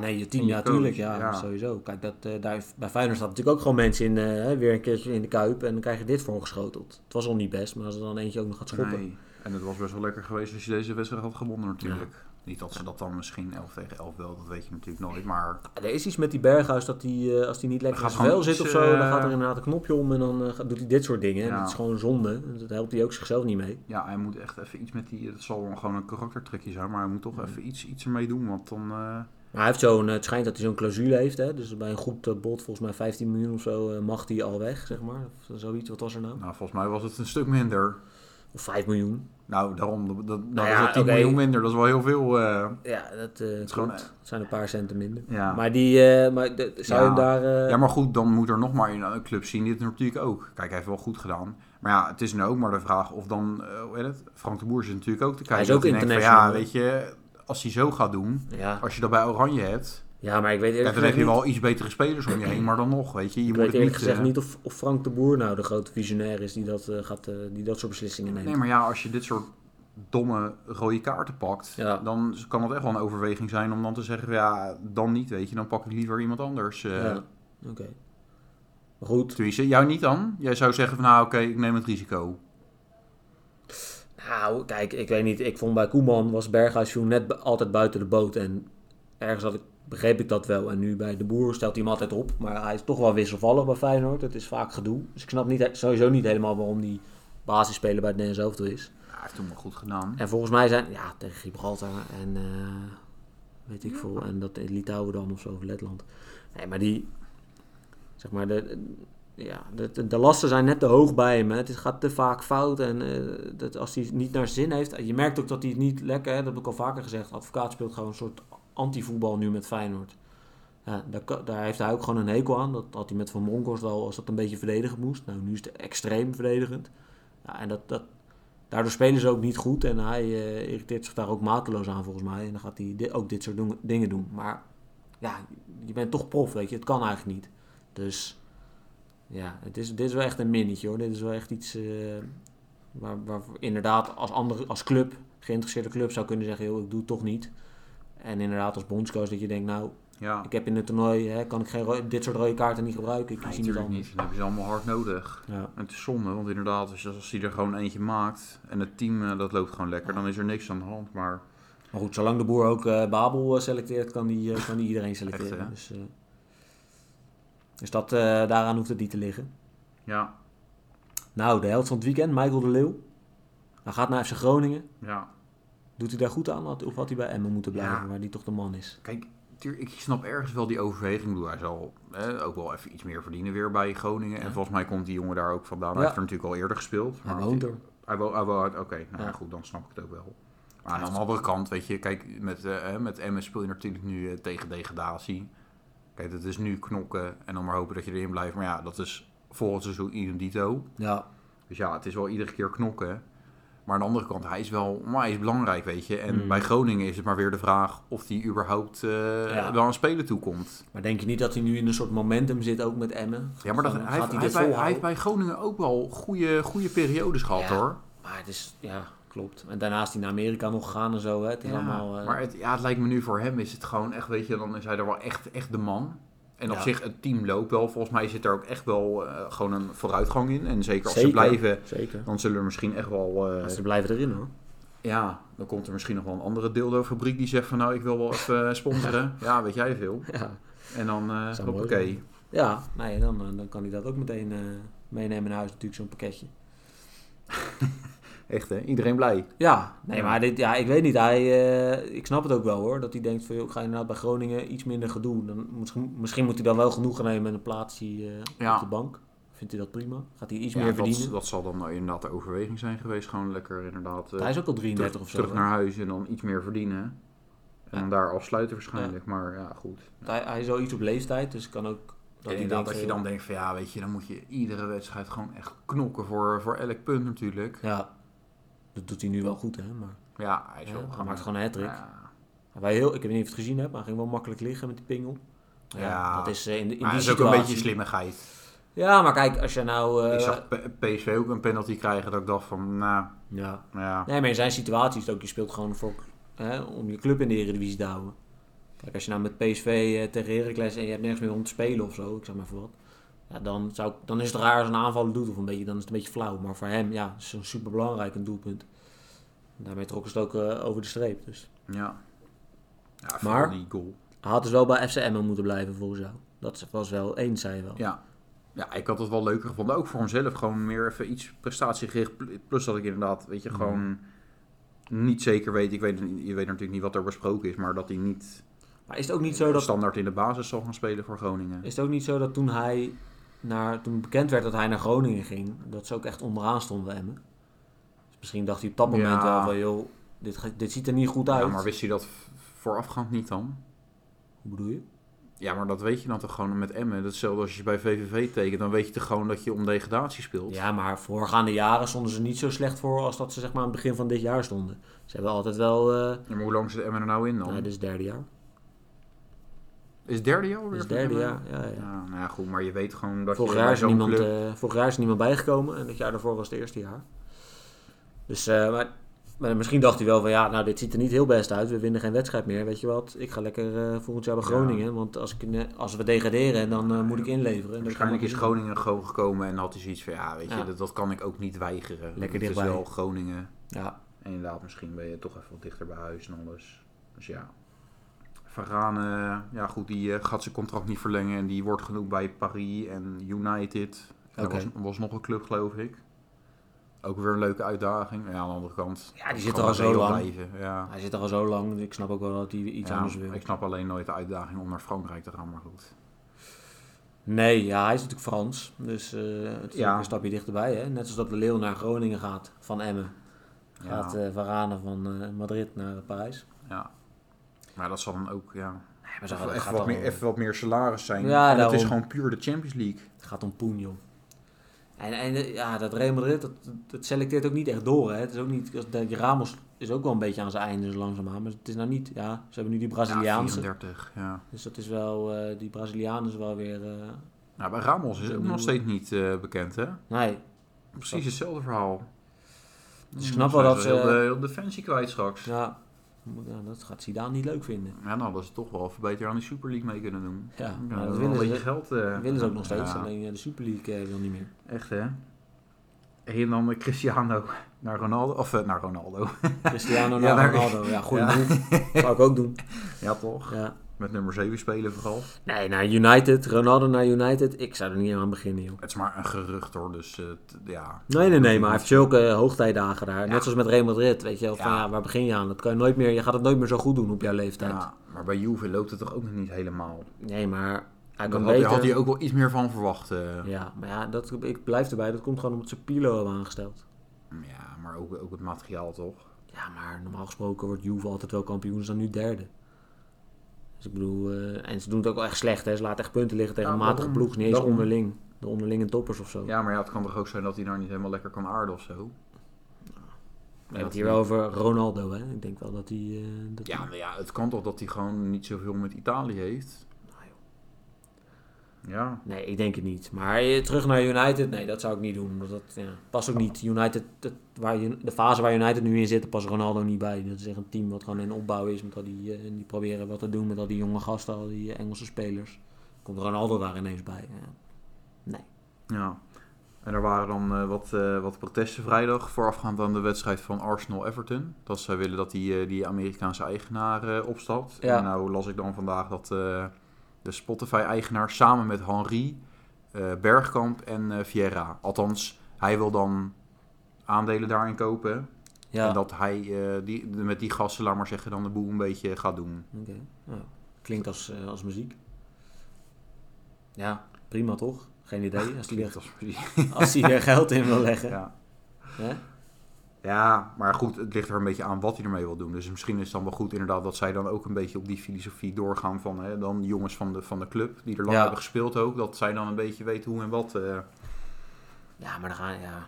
nee, je team,
En je
ja,
coach,
tuurlijk. Ja,
ja.
sowieso. Kijk, dat, eh, daar, bij Feyenoord staat natuurlijk ook gewoon mensen in, eh, hè, weer een keertje in de kuip. En dan krijg je dit voor geschoteld. Het was al niet best, maar als er dan eentje ook nog gaat schoppen.
Nee. En het was best wel lekker geweest als je deze wedstrijd had gewonnen natuurlijk. Niet dat ze dat dan misschien 11 tegen 11 wel, dat weet je natuurlijk nooit. Maar
Ja, Er is iets met die Berghuis dat die, eh, als die niet lekker
Dan
in
gaat
zijn vel
gewoon
zit of
iets,
zo, dan
eh,
gaat er inderdaad een knopje om en dan eh, gaat- doet hij dit soort dingen. En
Ja.
dat is gewoon zonde. Dat helpt hij ook zichzelf niet mee.
ja, hij moet echt even iets met die... Het zal wel gewoon een karaktertrekje zijn, maar hij moet toch even iets, iets ermee doen. Want dan... eh,
Maar hij heeft zo'n, eh, het schijnt dat hij zo'n clausule heeft, hè? dus bij een goed eh, bod, volgens mij 15 miljoen of zo, eh, mag hij al weg, zeg maar. Of zoiets, wat was er nou?
nou, volgens mij was het een stuk minder.
Of 5 miljoen.
Nou, daarom, dat, dat, dat
ja,
is al 10
oké.
miljoen minder. Dat is wel heel veel. eh,
Ja, dat eh,
is gewoon,
klopt. Het zijn een paar centen minder.
ja.
Maar die, eh maar de- zou je hem
Ja.
daar... eh,
ja, maar goed, dan moet er nog maar een, een club zien die het natuurlijk ook. Kijk, hij heeft wel goed gedaan. Maar ja, het is nu ook maar de vraag of dan, eh, hoe heet het? Frank de Boer zit natuurlijk ook te kijken.
is
dat
ook
hij denkt van,
international,
Ja, weet je, als hij zo gaat doen,
ja.
als je dat bij Oranje hebt,
ja, maar ik weet
kijk, dan heb
eerlijk gezegd
je
niet,
wel iets betere spelers om je heen. Maar dan nog, weet je, je
ik
moet
weet
het
eerlijk
niet...
gezegd
eh,
niet of, of Frank de Boer nou de grote visionair is die dat, eh, gaat, eh, die dat soort beslissingen neemt.
Nee, maar ja, als je dit soort domme rode kaarten pakt,
Ja.
dan kan dat echt wel een overweging zijn om dan te zeggen, ja, dan niet, weet je, dan pak ik liever iemand anders. eh,
Ja, oké. Maar Goed.
Tuurlijk, jou niet dan? Jij zou zeggen van nou oké, ik neem het risico.
Nou, kijk, ik weet niet. Ik vond bij Koeman was Berghuis viel net bu- altijd buiten de boot. En ergens had ik, begreep ik dat wel. En nu bij de Boer stelt hij hem altijd op. Maar hij is toch wel wisselvallig bij Feyenoord. Het is vaak gedoe. Dus ik snap niet, he- sowieso niet helemaal waarom die basisspeler bij het Nederlands elftal is.
Ja, hij heeft toen wel goed gedaan.
En volgens mij zijn... Ja, tegen Gibraltar en... eh, weet ik veel. En dat in Litouwen dan of zo, of Letland. Nee, maar die... Zeg maar, de, ja, de, de lasten zijn net te hoog bij hem. Hè. Het is- gaat te vaak fout. En eh, dat als hij het niet naar zijn zin heeft... Je merkt ook dat hij het niet lekker... Hè, dat heb ik al vaker gezegd. Advocaat speelt gewoon een soort anti-voetbal nu met Feyenoord. Ja, daar, kan- daar heeft hij ook gewoon een hekel aan. Dat had hij met Van Bronckhorst wel als dat een beetje verdedigen moest. Nou, nu is het extreem verdedigend. Ja, en dat, dat, daardoor spelen ze ook niet goed. En hij eh, irriteert zich daar ook mateloos aan volgens mij. En dan gaat hij di- ook dit soort doen- dingen doen. Maar ja, je bent toch prof, weet je. Het kan eigenlijk niet. Dus ja, het is, dit is wel echt een minnetje hoor. Dit is wel echt iets eh, waar, waar inderdaad als, andere, als club, geïnteresseerde club zou kunnen zeggen... ...joh, ik doe het toch niet. En inderdaad als bondscoach dat je denkt, nou,
Ja,
ik heb in het toernooi... Hè, ...kan ik geen ro- dit soort rode kaarten niet gebruiken. Ik
nee,
kies iemand
natuurlijk
anders.
niet. Dat hebben ze allemaal hard nodig.
Ja.
En het is zonde, want inderdaad, als, je- als hij er gewoon eentje maakt en het team eh, dat loopt gewoon lekker, dan is er niks aan de hand. Maar
Maar goed, zolang de boer ook eh, Babel eh, selecteert, kan die, eh, kan die iedereen selecteren.
Echt, hè?
dus, eh, dus dat, eh, daaraan hoeft het niet te liggen.
ja,
Nou, de held van het weekend, Michael de Leeuw. Hij gaat naar FC Groningen.
ja.
Doet hij daar goed aan? Had- Of had hij bij Emmen moeten blijven,
Ja.
waar die toch de man is?
Kijk, tuur- ik snap ergens wel die overweging. Ik bedoel, hij zal eh, ook wel even iets meer verdienen weer bij Groningen.
Ja.
En volgens mij komt die jongen daar ook vandaan.
Ja.
Hij heeft er natuurlijk al eerder gespeeld.
Hij
maar-
woont er.
Hij wou, hij wou- oké, nou
Ja.
ja. goed, dan snap ik het ook wel. Maar aan de andere kant, weet je, kijk, met, eh, met MS speel je natuurlijk nu eh, tegen degradatie. Kijk, dat is nu knokken en dan maar hopen dat je erin blijft. Maar ja, dat is volgend seizoen idem dito.
Ja,
Dus ja, het is wel iedere keer knokken. Maar aan de andere kant, hij is wel hij is belangrijk, weet je. En
Mm.
bij Groningen is het maar weer de vraag of hij überhaupt eh,
Ja.
wel aan spelen toekomt.
maar denk je niet dat hij nu in een soort momentum zit, ook met Emmen?
Ja, maar dat,
Van,
hij, heeft,
gaat
hij,
dit
heeft bij, hij heeft
volhouden?
bij Groningen ook wel goede, goede periodes gehad,
Ja.
hoor.
Maar het is, ja, klopt. En daarna is hij naar Amerika nog gegaan en zo. Hè. Het is
Ja,
allemaal... eh,
maar het, ja, het lijkt me nu voor hem is het gewoon echt, weet je, dan is hij er wel echt, echt de man. En op
Ja.
zich, het team loopt wel. Volgens mij zit er ook echt wel eh, gewoon een vooruitgang in. En zeker als
Zeker.
ze blijven,
Zeker.
dan zullen er misschien echt wel... eh,
Maar Ze blijven erin hoor.
ja, dan komt er misschien nog wel een andere dildo-fabriek die zegt van... Nou, ik wil wel even eh,
*laughs*
sponsoren. ja, weet jij veel.
Ja.
En dan, eh
Zou mooi
hoppakee.
Ja, nee, dan, eh, dan kan hij dat ook meteen eh, meenemen naar huis, natuurlijk, zo'n pakketje.
Echt, hè? Iedereen blij.
Ja, nee,
Ja.
maar dit, ja, ik weet niet. Hij, eh, ik snap het ook wel hoor. Dat hij denkt van, joh, ik ga inderdaad bij Groningen iets minder gedoe. Dan, misschien, misschien moet hij dan wel genoegen nemen met een plaatsje eh,
Ja.
op de bank. Vindt hij dat prima? Gaat hij iets
Ja,
meer
dat,
verdienen?
dat zal dan nou inderdaad de overweging zijn geweest. Gewoon lekker inderdaad... eh,
hij is ook al 33
terug,
of zo.
terug
hè?
naar huis en dan iets meer verdienen. En
Ja.
dan daar afsluiten waarschijnlijk. Maar ja, goed.
Hij, hij is al iets op leeftijd, dus kan ook...
Dat
hij
inderdaad,
denkt,
dat je
eh,
dan denkt van ja, weet je, dan moet je iedere wedstrijd gewoon echt knokken voor, voor elk punt natuurlijk.
Ja, dat doet hij nu wel goed hè. Maar
Ja, hij is
Ja,
wel
hij
gaan-
maakt gewoon een hat-trick.
Ja.
wij heel, ik heb niet of je het gezien hebt, maar hij ging wel makkelijk liggen met die pingel.
Ja.
dat is eh, in, de- in
Maar
die
dat is ook een beetje
situatie-
slimmigheid.
Ja, maar kijk, als je nou... eh,
ik zag P- PSV ook een penalty krijgen dat ik dacht van, nou,
Ja.
ja.
Nee, maar in zijn situatie is het ook, je speelt gewoon voor, hè, om je club in de Eredivisie te houden. Kijk, als je nou met PSV eh, tegen Heracles en je hebt nergens meer om te spelen of zo, ik zeg maar voor wat. Ja, dan, zou, ik- dan is het raar als een aanvaller doet of een beetje, dan is het een beetje flauw. Maar voor hem, ja, is het superbelangrijk een doelpunt. Daarmee trokken ze het ook eh, over de streep. Dus.
Ja. ja
Maar-
vooral Die goal.
Hij had dus wel bij FCM moeten blijven volgens jou. Dat was wel eens, zei je wel.
Ja. ja, ik had het wel leuker gevonden. Ook voor hemzelf. Gewoon meer even iets prestatiegericht. Pl- Plus dat ik inderdaad, weet je,
Mhm.
gewoon niet zeker weet. Ik weet je weet natuurlijk niet wat er besproken is. Maar dat hij niet
Maar is het ook niet zo dat
standaard in de basis zal gaan spelen voor Groningen.
Is het ook niet zo dat toen hij naar, toen bekend werd dat hij naar Groningen ging, dat ze ook echt onderaan stonden bij Emmen? Dus misschien dacht hij op dat moment
Ja.
wel van, joh, dit, ga- dit ziet er niet goed uit.
Ja, maar wist hij dat v- voorafgaand niet dan?
Hoe bedoel je?
Ja, maar dat weet je dan toch gewoon met Emmen. Dat is hetzelfde als je bij VVV tekent. Dan weet je toch gewoon dat je om degradatie speelt.
Ja, maar voorgaande jaren stonden ze niet zo slecht voor als dat ze zeg maar aan het begin van dit jaar stonden. Ze hebben altijd wel, eh
Ja, maar hoe lang zit Emmen er nou in dan?
nou, dit is het derde jaar.
Is het derde jaar weer?
Dit is het
van
derde
Emmen?
jaar, ja, ja.
Ja, nou ja, goed. Maar je weet gewoon dat
Vorig
je
jaar,
bij
is er
zo'n
niemand,
club...
eh, vorig jaar is er niemand bijgekomen en het jaar daarvoor was het eerste jaar. Dus eh, maar, maar misschien dacht hij wel van ja, nou dit ziet er niet heel best uit. We winnen geen wedstrijd meer. Weet je wat, ik ga lekker eh, volgend jaar bij
Ja.
Groningen. Want als, ik, ne- als we degraderen, dan eh, moet ik inleveren. En dat
Waarschijnlijk
kan
is
ik
Groningen gewoon gekomen en had hij zoiets van... Ja, weet je,
Ja.
dat, dat kan ik ook niet weigeren.
Lekker
Het is
dichtbij.
wel Groningen.
niet. Ja,
En inderdaad, misschien ben je toch even wat dichter bij huis en alles. Dus ja. Van Raan, eh, ja goed, die eh, gaat zijn contract niet verlengen. En die wordt genoeg bij Paris en United. En
Oké.
Er was, was nog een club, geloof ik. Ook weer een leuke uitdaging. Ja, aan de andere kant.
Ja, die
is
zit
gewoon
er al zo
reëel
lang.
Blijven. Ja.
hij zit er al zo lang. Ik snap ook wel dat hij iets
Ja,
anders wil.
Ik snap alleen nooit de uitdaging om naar Frankrijk te gaan, maar goed.
Nee, ja, hij is natuurlijk Frans. Dus eh, het is
Ja.
ook een stapje dichterbij. Hè? Net als dat de Leeuw naar Groningen gaat van Emmen.
Ja.
Gaat eh Varane van eh, Madrid naar Parijs.
Ja. Maar dat zal dan ook, ja.
Nee, maar zo gaat-
Even,
gaat
wat
dan-
meer, even wat meer salaris zijn.
Ja,
en het
daarom.
is gewoon puur de Champions League.
Het gaat om poen, joh. En, en eh, ja, dat Real Madrid, dat, dat selecteert ook niet echt door. Hè. Het is ook niet, dat- dat Ramos is ook wel een beetje aan zijn einde, zo langzaamaan. Maar het is nou niet, ja, ze hebben nu die Braziliaanse.
Ja, 34, ja.
dus dat is wel, eh, die Braziliaan is wel weer, eh,
Nou, bij Ramos is het ook nog
Nieuwe-
steeds niet eh, bekend, hè?
nee.
Precies hetzelfde verhaal.
Dus ik
Ja,
snap wel
zijn
dat
Heel
ze-
de, heel de fancy kwijt straks. Ja.
Ja, ja, dat gaat Zidane niet leuk vinden.
nou, dat ze toch wel even beter aan de Super League mee kunnen doen.
Ja, maar
Ja,
dat
wel
willen
een
ze-
beetje geld. eh,
Dat willen ze ook nog steeds,
ja,
alleen ja, de Super League eh, wil niet *laughs* meer.
Echt, hè? En dan eh, Cristiano *laughs* naar Ronaldo. Of eh, naar Ronaldo. *laughs*
Cristiano
Ja,
naar
daar-
Ronaldo, ja, goede
Ja.
move. Zou ik ook doen.
Ja, toch?
Ja.
Met nummer 7 spelen vooral.
*laughs* Nee, naar United, Ronaldo naar United, ik zou er niet aan beginnen, joh.
Het is maar een gerucht, hoor. Dus eh, t- ja.
Nee, nee, nee, maar hij heeft zulke eh, hoogtijdagen daar. Net zoals met Real Madrid, weet je wel. Van,
Ja.
ja. waar begin je aan? Dat kan je, nooit meer, je gaat het nooit meer zo goed doen op jouw leeftijd.
Ja, maar bij Juve loopt het toch ook nog niet helemaal.
Nee, maar hij
Daar
kan
had,
beter...
had hij ook wel iets meer van verwacht. eh. ja.
Ja, maar ja, dat, ik blijf erbij. Dat komt gewoon omdat ze Pilo hebben aangesteld.
maar ook, ook het materiaal, toch?
Ja, maar normaal gesproken wordt Juve altijd wel kampioen. Ze zijn nu derde. Dus ik bedoel... eh, en ze doen het ook wel echt slecht, hè. Ze laten echt punten liggen tegen
Ja,
een matige
daarom.
ploeg. Niet eens
Daarom.
onderling. De onderlinge toppers of zo.
Ja, maar ja, het kan toch ook zijn dat hij nou niet helemaal lekker kan aarden of zo?
We hebben het hier wel over Ronaldo, hè. Ik denk wel dat hij... eh, dat
Ja,
hij-
maar ja, het kan toch dat hij gewoon niet zoveel met Italië heeft?
Nou, joh.
Ja.
Nee, ik denk het niet. Maar eh, terug naar United, nee, dat zou ik niet doen. omdat Dat ja, past ook niet. United, dat- waar, je- de fase waar United nu in zit, daar past Ronaldo niet bij. Dat is echt een team wat gewoon in opbouw is. Met al die, eh, en die proberen wat te doen met al die jonge gasten, al die eh, Engelse spelers. Komt Ronaldo daar ineens bij. Ja. Nee.
ja. En er waren dan eh, wat, eh, wat protesten vrijdag voorafgaand aan de wedstrijd van Arsenal-Everton. Dat zij willen dat die, eh, die Amerikaanse eigenaar eh, opstapt.
Ja.
En nou las ik dan vandaag dat eh, de Spotify-eigenaar samen met Henri, eh, Bergkamp en eh Vieira. Althans, hij wil dan aandelen daarin kopen.
Ja,
En dat hij eh, die, met die gasten, laat maar zeggen, dan de boel een beetje gaat doen.
oké. Nou, klinkt als, eh, als muziek. Ja, prima toch? Geen
*laughs*
idee. Als hij er, als hij er geld in wil leggen.
Ja.
Hè?
Ja, maar goed, het ligt er een beetje aan wat hij ermee wil doen. Dus misschien is het dan wel goed inderdaad dat zij dan ook een beetje op die filosofie doorgaan van hè, dan jongens van de, van de club die er lang
Ja.
hebben gespeeld ook. Dat zij dan een beetje weten hoe en wat. eh.
Ja, maar dan gaan, ja.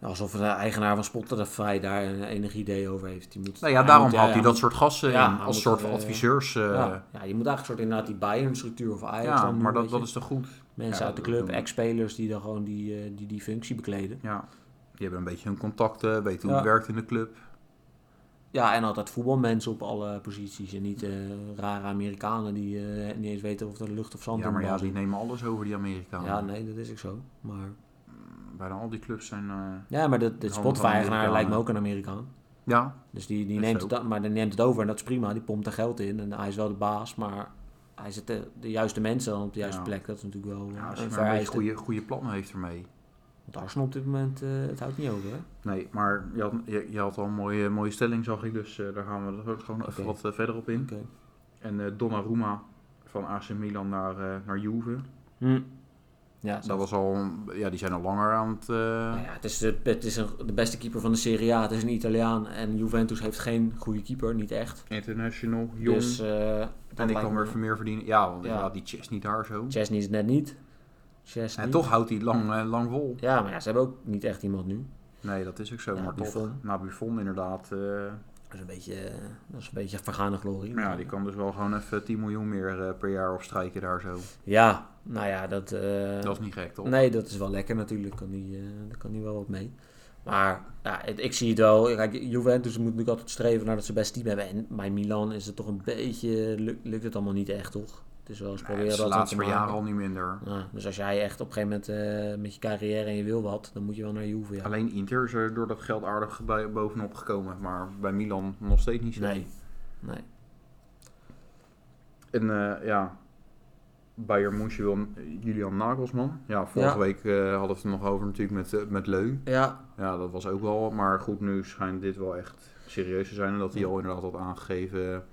Nou, Alsof de eigenaar van Spotify daar een enig idee over heeft. Die moet,
Nou ja, daarom
moet,
haalt hij
ja,
dat soort gasten
Ja,
in,
hij
als
moet,
soort
eh,
adviseurs. eh, ja,
Ja, ja, je moet eigenlijk soort inderdaad die Bayern-structuur of Ajax dan doen,
maar
weet
dat, dat
je.
is toch goed.
Mensen
ja,
uit de
dat-
club,
dat-
ex-spelers die dan gewoon die, eh, die, die functie bekleden.
Ja. Die hebben een beetje hun contacten, weten hoe
Ja.
het werkt in de club.
Ja, en altijd voetbalmensen op alle posities. En niet eh, rare Amerikanen die eh, niet eens weten of er lucht of zand
Ja,
in de
maar ja,
bal
die
zit.
nemen alles over die Amerikanen.
Ja, nee, dat is ook zo. Maar
bijna al die clubs zijn... eh,
Ja, maar de, de
Handen van
Spotify-eigenaar
Amerikanen.
lijkt me ook een Amerikaan.
ja,
Dus die, die,
Is
neemt
ook.
het, maar die neemt het over en dat is prima. Die pompt er geld in en hij is wel de baas, maar hij zet de, de juiste mensen dan op de juiste
Ja.
plek. Dat is natuurlijk wel eh,
ja, als je
een
maar een beetje
vereiste.
goede, goede plannen heeft ermee.
Want Arsenal op dit moment, eh, het houdt niet over. Hè?
Nee, maar je had, je, je had al een mooie, mooie stelling, zag ik. Dus eh, daar gaan we er gewoon even
Oké.
wat eh, verder op in.
Oké.
En eh Donnarumma van AC Milan naar, eh, naar Juve.
Hm. Ja,
Dat was al, ja, die zijn al langer aan het... eh,
Nou ja, het is, de, het is een, de beste keeper van de Serie A. Het is een Italiaan en Juventus heeft geen goede keeper, niet echt.
International, jong.
Dus eh, dat
en die
lijkt
kan
me-
weer even meer verdienen. Ja, want
Ja.
ja, die chest niet daar zo.
Chesney is het net niet. Chesney.
En toch houdt hij lang, eh, lang vol.
Ja, maar ja, ze hebben ook niet echt iemand nu.
Nee, dat is ook zo.
Ja,
maar
Buffon.
toch, na Buffon inderdaad. eh,
Dat is een beetje, eh, dat is een beetje vergane glorie.
maar ja, die kan dus wel gewoon even 10 miljoen meer eh, per jaar opstrijken daar zo.
Ja, nou ja, dat... eh,
Dat is niet gek, toch?
Nee, dat is wel lekker natuurlijk. Kan die, eh, daar kan hij wel wat mee. Maar ja, het- ik zie het wel. Kijk, Juventus moet natuurlijk altijd streven naar dat ze het beste team hebben. En bij Milan is het toch een beetje... luk- lukt het allemaal niet echt, toch? Het is wel eens
Nee,
proberen
het is de
dat
laatste
te
paar
maken.
jaren al niet minder.
Ja, dus als jij echt op een gegeven moment eh, met je carrière en je wil wat, dan moet je wel naar Juve. Ja.
Alleen Inter is er door dat geld aardig bij- bovenop gekomen. Maar bij Milan nog steeds niet zo.
Nee. Nee.
En eh, ja, Bayern München wil Julian Nagelsman. Ja, vorige
Ja.
week eh, hadden we het er nog over natuurlijk met, eh, met Leu.
Ja,
Ja, dat was ook wel. Maar goed, nu schijnt dit wel echt serieus te zijn. En dat hij
Ja.
al inderdaad had aangegeven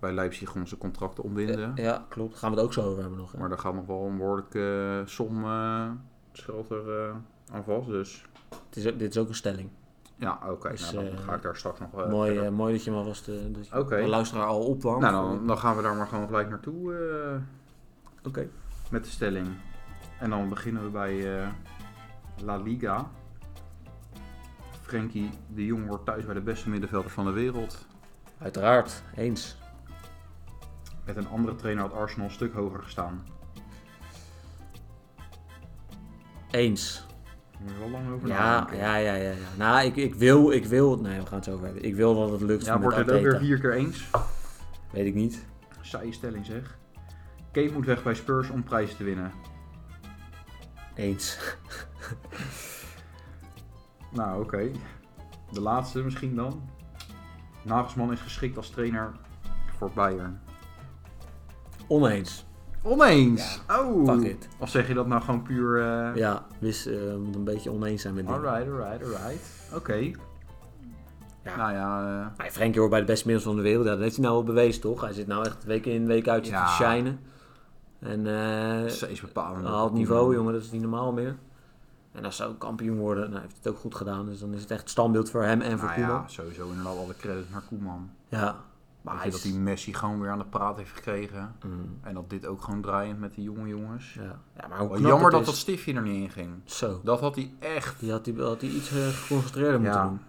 bij Leipzig gewoon zijn contract te ontbinden.
ja, klopt. Gaan we het ook zo over hebben nog. hè?
Maar daar gaat nog wel een behoorlijke eh, som eh schuld er eh, aan vast. Dus
Het is, ook- dit is ook een stelling.
ja, oké.
Dus,
nou, dan
eh,
ga ik daar straks nog eh,
mooi,
Oh, verder.
eh, mooi dat je me alvast eh, dat je
Oké.
de luisteraar al opwarmt.
nou, dan, dan gaan we daar maar gewoon gelijk naartoe eh,
Oké.
met de stelling. En dan beginnen we bij eh, La Liga. Frenkie de Jong wordt thuis bij de beste middenvelders van de wereld.
Uiteraard. Eens.
Met een andere trainer had Arsenal een stuk hoger gestaan.
Eens.
Daar moet je wel lang over
Ja,
nadenken.
ja, ja, ja, ja. Nou, ik, ik wil, ik wil, nee, we gaan het zo over hebben. Ik wil dat het lukt
Ja,
met
wordt het ook
Arteta.
weer vier keer eens?
Weet ik niet.
Saaie stelling zeg. Kane moet weg bij Spurs om prijzen te winnen.
Eens. *laughs*
Nou, oké. De laatste misschien dan. Nagelsman is geschikt als trainer voor Bayern.
Oneens.
Oneens! oh!
Fuck it.
Of zeg je dat nou gewoon puur... eh,
Ja, wist, eh, moet een beetje oneens zijn met dit.
Alright, alright, alright. Oké.
Ja.
Nou ja... eh,
Maar Frenkie hoort bij de beste middels van de wereld. Ja, dat heeft hij nou wel bewezen, toch? Hij zit nou echt week in, week uit
Ja.
te shinen. En eh
steeds bepalend.
haalt niveau, jongen, dat is niet normaal meer. En als ze ook kampioen worden, nou, heeft het ook goed gedaan. Dus dan is het echt standbeeld voor hem en voor
Nou
Koeman.
ja, sowieso inderdaad alle credit naar Koeman.
Ja.
Maar
Maar
Weet
hij
je dat
is...
die Messi gewoon weer aan de praat heeft gekregen.
Mm,
En dat dit ook gewoon draaiend met die jonge jongens.
ja. ja, maar hoe
Wel
knap
jammer dat
is.
dat stiftje er niet in ging.
Zo.
Dat had hij echt.
Die had hij had die iets eh, geconcentreerder moeten
Ja.
doen.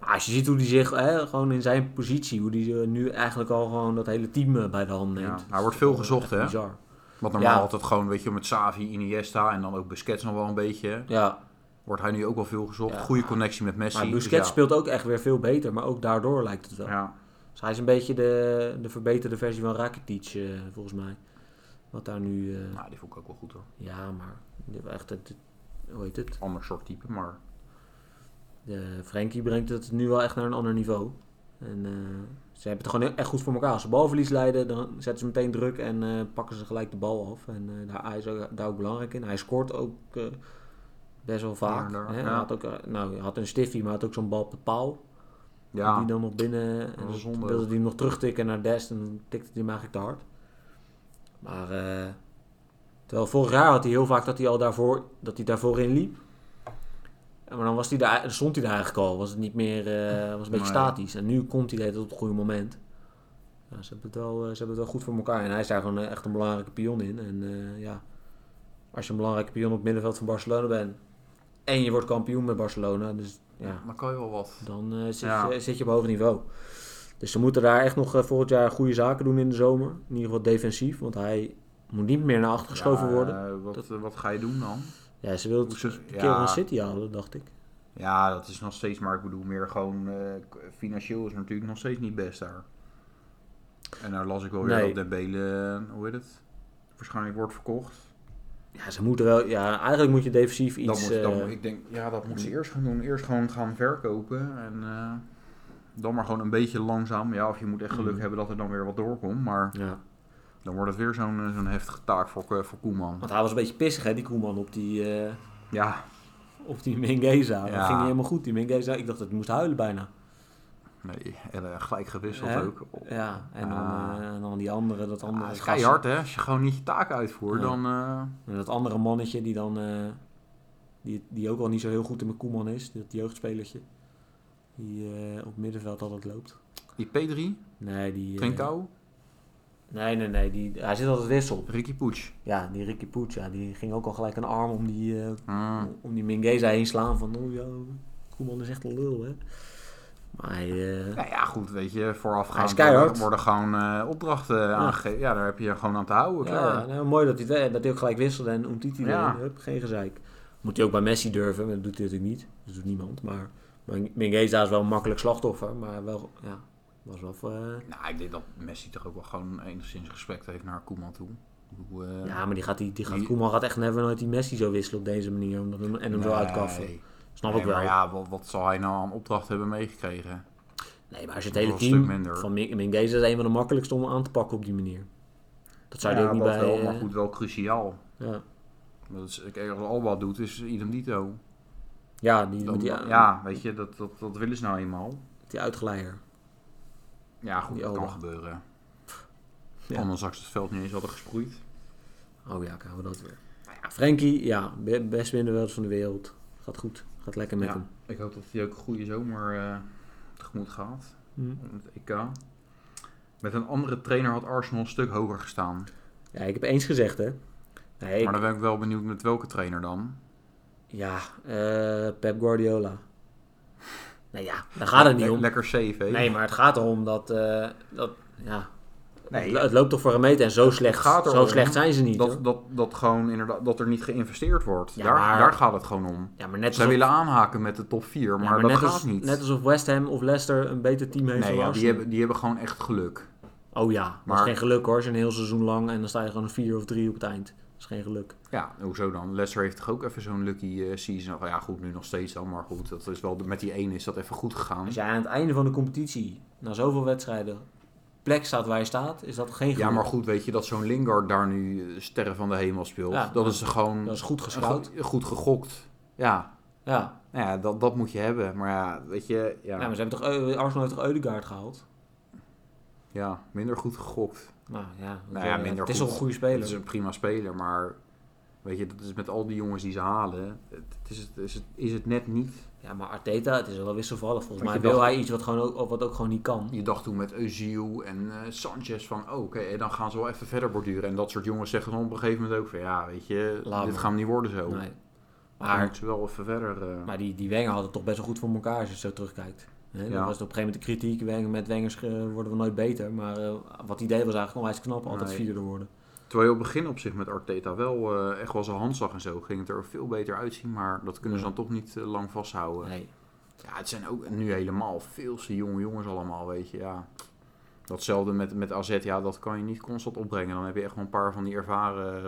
Maar als je ziet hoe hij zich hè, gewoon in zijn positie, hoe hij eh, nu eigenlijk al gewoon dat hele team eh, bij de hand neemt.
Ja,
Dat
hij
is
wordt veel
echt
gezocht, hè?
Bizar.
Want normaal
Ja.
had het gewoon, weet je, met Savi, Iniesta en dan ook Busquets nog wel een beetje.
Ja,
Wordt hij nu ook wel veel gezocht.
Ja.
Goede connectie met Messi.
maar
dus
Busquets
ja.
speelt ook echt weer veel beter, maar ook daardoor lijkt het wel.
Ja.
Dus hij is een beetje de, de verbeterde versie van Rakitic, eh, volgens mij. Wat daar nu... eh,
Nou, die vond ik ook wel goed hoor.
ja, maar echt het, het- hoe heet het?
Ander soort type, maar
De Frenkie brengt het nu wel echt naar een ander niveau. En eh, ze hebben het gewoon heel- echt goed voor elkaar. Als ze balverlies leiden, dan zetten ze meteen druk en eh, pakken ze gelijk de bal af. En eh, daar hij is ook, daar ook belangrijk in. Hij scoort ook eh, best wel vaak.
Ja, daar-
hè?
ja.
Hij had ook, eh, nou, hij had een stiffie, maar had ook zo'n bal op de paal.
ja,
Die dan nog binnen. En
was
dan
zonde ook.
wilde hij hem nog terugtikken naar Dest. En dan tikte hij hem eigenlijk te hard. Maar. eh, terwijl vorig jaar had hij heel vaak dat hij al daarvoor, dat hij daarvoor in liep. En Maar dan was hij daar, dan stond hij daar eigenlijk al. Was het niet meer. eh, was een beetje
Nee.
statisch. En nu komt hij de hele tijd op het goede moment. Ja, ze, hebben het wel, eh, ze hebben het wel goed voor elkaar. En hij is daar gewoon eh, echt een belangrijke pion in. En eh, ja. Als je een belangrijke pion op het middenveld van Barcelona bent. En je wordt kampioen met Barcelona. Dus ja.
dan kan je wel wat.
Dan eh, zit,
Ja.
je, zit je op hoog niveau. Dus ze moeten daar echt nog eh, volgend jaar goede zaken doen in de zomer. In ieder geval defensief, want hij moet niet meer naar achter geschoven
Ja,
worden.
eh, wat,
Dat-
eh, wat ga je doen dan?
Ja, ze wil het
Hoezo?
een keer
Ja.
van City halen, dacht ik.
Ja, dat is nog steeds, maar ik bedoel meer gewoon eh, k- financieel is natuurlijk nog steeds niet best daar. En nou las ik wel weer
Nee.
dat Dembele, eh, hoe heet het, waarschijnlijk wordt verkocht.
Ja, ze moeten wel. Ja, eigenlijk moet je defensief
Dan
iets.
moet, dan
eh,
moet- ik denk, ja, dat moet ze eerst gaan doen. Eerst gewoon gaan verkopen. En eh, dan maar gewoon een beetje langzaam. Ja, of je moet echt geluk
Mm.
hebben dat er dan weer wat doorkomt. Maar
ja.
dan wordt het weer zo'n eh, zo'n heftige taak voor, Ko- voor Koeman.
Want hij was een beetje pissig, hè, die Koeman, op die, eh
Ja,
op die Mengeza. Dat
Ja.
ging niet helemaal goed. Die Mengeza, ik dacht dat hij moest huilen bijna.
nee. En eh, gelijk gewisseld
Hè?
ook.
Ja, en dan,
Ah.
eh, en dan die andere, dat andere,
Ah, het is
gast-
keihard, hè? Als je gewoon niet je taak uitvoert,
Ja.
dan... eh,
en dat andere mannetje die dan, eh, die, die ook al niet zo heel goed in mijn Koeman is, dat jeugdspelertje. Die eh, op middenveld altijd loopt.
die P3,
Nee, die... eh,
Trincao,
nee, nee, nee. Die, hij zit altijd wissel.
Ricky Poets.
Ja, die Ricky Poets, ja, die ging ook al gelijk een arm om die, eh,
Ah,
om die Mingeza heen slaan. Van, oh ja, Koeman is echt een lul, hè. Maar hij, eh,
Nou ja, goed, weet je, voorafgaand
Hij is keihard.
worden- worden gewoon eh, opdrachten aangegeven. Ja, daar heb je je gewoon aan te houden,
ja,
klaar.
ja, nou, mooi dat hij, het weet, dat hij ook gelijk wisselde en Umtiti
Ja.
erin. Hup, geen gezeik. Moet hij ook bij Messi durven, maar dat doet hij natuurlijk niet. Dat doet niemand. Maar maar Mingeza is wel een makkelijk slachtoffer, maar wel, ja, was wel... eh,
Nou, ik denk dat Messi toch ook wel gewoon enigszins respect heeft naar Koeman toe. Ik bedoel, eh,
ja, maar die gaat, die, die gaat,
die-
Koeman gaat echt never nooit die Messi zo wisselen op deze manier omdat hem, en hem zo
nee.
uitkaffen. Snap
Nee,
ik wel.
Maar ja, wat, wat zal hij nou aan opdracht hebben meegekregen?
Nee, maar als je het
Dat
hele
was een stuk
team
minder.
van Min- Mingees is een van de makkelijkste om aan te pakken op die manier. Dat zou je
ja,
ook niet
dat
bij...
wel,
eh,
maar goed, wel cruciaal.
Ja,
Dat is, kijk, als Alba doet, is idem dito.
ja, die,
Dan-
met die,
ja, weet je, dat, dat, dat willen ze nou eenmaal.
die uitgeleier.
Ja, goed,
Die
dat kan
Alba.
gebeuren.
Ja.
Anders had ze het veld niet eens hadden gesproeid.
Oh ja, krijgen we dat weer. Nou ja, Frenkie, ja, be- best winnen wel van de wereld. Gaat goed. Gaat lekker met
Ja.
hem.
Ik hoop dat hij ook een goede zomer eh, tegemoet gaat.
Mhm.
Met het EK. Met een andere trainer had Arsenal een stuk hoger gestaan.
Ja, ik heb eens gezegd, hè. Nee, ik-
Maar dan ben ik wel benieuwd met welke trainer dan.
Ja, eh, Pep Guardiola. Nou ja, daar gaat het niet
Le-
om.
Lekker safe, hè?
Nee, maar het gaat erom dat... eh, dat ja,
Nee,
het, het loopt toch voor een meter en zo slecht,
gaat
zo
erom
slecht zijn ze niet, hoor.
dat, dat, dat, gewoon inderdaad, dat er niet geïnvesteerd wordt.
Ja,
daar,
maar-
daar gaat het gewoon om.
Ja, maar net
Zij
alsof-
willen aanhaken met de top 4, maar,
Ja, maar
dat
net
gaat
als,
niet.
Net alsof West Ham of Leicester een beter team heeft
nee,
dan
ja, die,
Arsenal.
hebben, die hebben gewoon echt geluk.
Oh ja, dat
Maar-
is geen geluk hoor. Als je een heel seizoen lang en dan sta je gewoon een 4 of 3 op het eind. Dat is geen geluk.
Ja, hoezo dan? Leicester heeft toch ook even zo'n lucky eh, season. Of ja, goed, nu nog steeds dan. Maar goed, dat is wel, met die 1 is dat even goed gegaan.
Als jij aan het einde van de competitie, na zoveel wedstrijden, plek staat waar je staat, is dat geen geluk.
Ja, maar goed, weet je dat zo'n Lingard daar nu eh, sterren van de hemel speelt.
Ja,
dat is gewoon
Dat is goed
een
gescout.
go- goed gegokt. Ja,
Ja.
nou ja dat, dat moet je hebben. Maar ja, weet je, ja,
Ja. maar ze hebben toch, eh, Arsenal heeft toch Eudegaard gehaald?
ja, minder goed gegokt.
Nou ja,
Nou ja,
eh,
minder
het is
goed.
toch een goede
Dat is
speler.
een prima speler, maar weet je, dat is met al die jongens die ze halen, het het is het, is het, is het net niet.
Ja, maar Arteta, het is wel wisselvallig.
Want
Volgens mij
je
wil
dacht-
hij iets wat, gewoon ook, wat ook gewoon niet kan.
Je dacht toen met Özil en eh, Sanchez van, oh, oké, dan gaan ze wel even verder borduren. En dat soort jongens zeggen dan op een gegeven moment ook van, ja, weet je,
Laat
dit
maar.
gaan we niet worden zo.
Nee.
Maar
Maar,
moeten ze wel even verder... eh,
maar die, die Wenger had het toch best wel goed voor elkaar als je zo terugkijkt. Hè,
Ja.
Dat was op een gegeven moment de kritiek. Wenger, met Wengers eh, worden we nooit beter. Maar eh, wat hij deed was eigenlijk onwijs knap. Altijd
Nee.
vierde worden.
Terwijl je op het begin op zich met Arteta wel eh, echt wel zijn hand zag en zo, ging het er veel beter uitzien, maar dat kunnen ze dan toch niet eh, lang vasthouden.
Nee.
Ja, het zijn ook nu helemaal veel te jonge jongens allemaal, weet je, ja. Datzelfde met, met AZ, ja, dat kan je niet constant opbrengen. Dan heb je echt wel een paar van die ervaren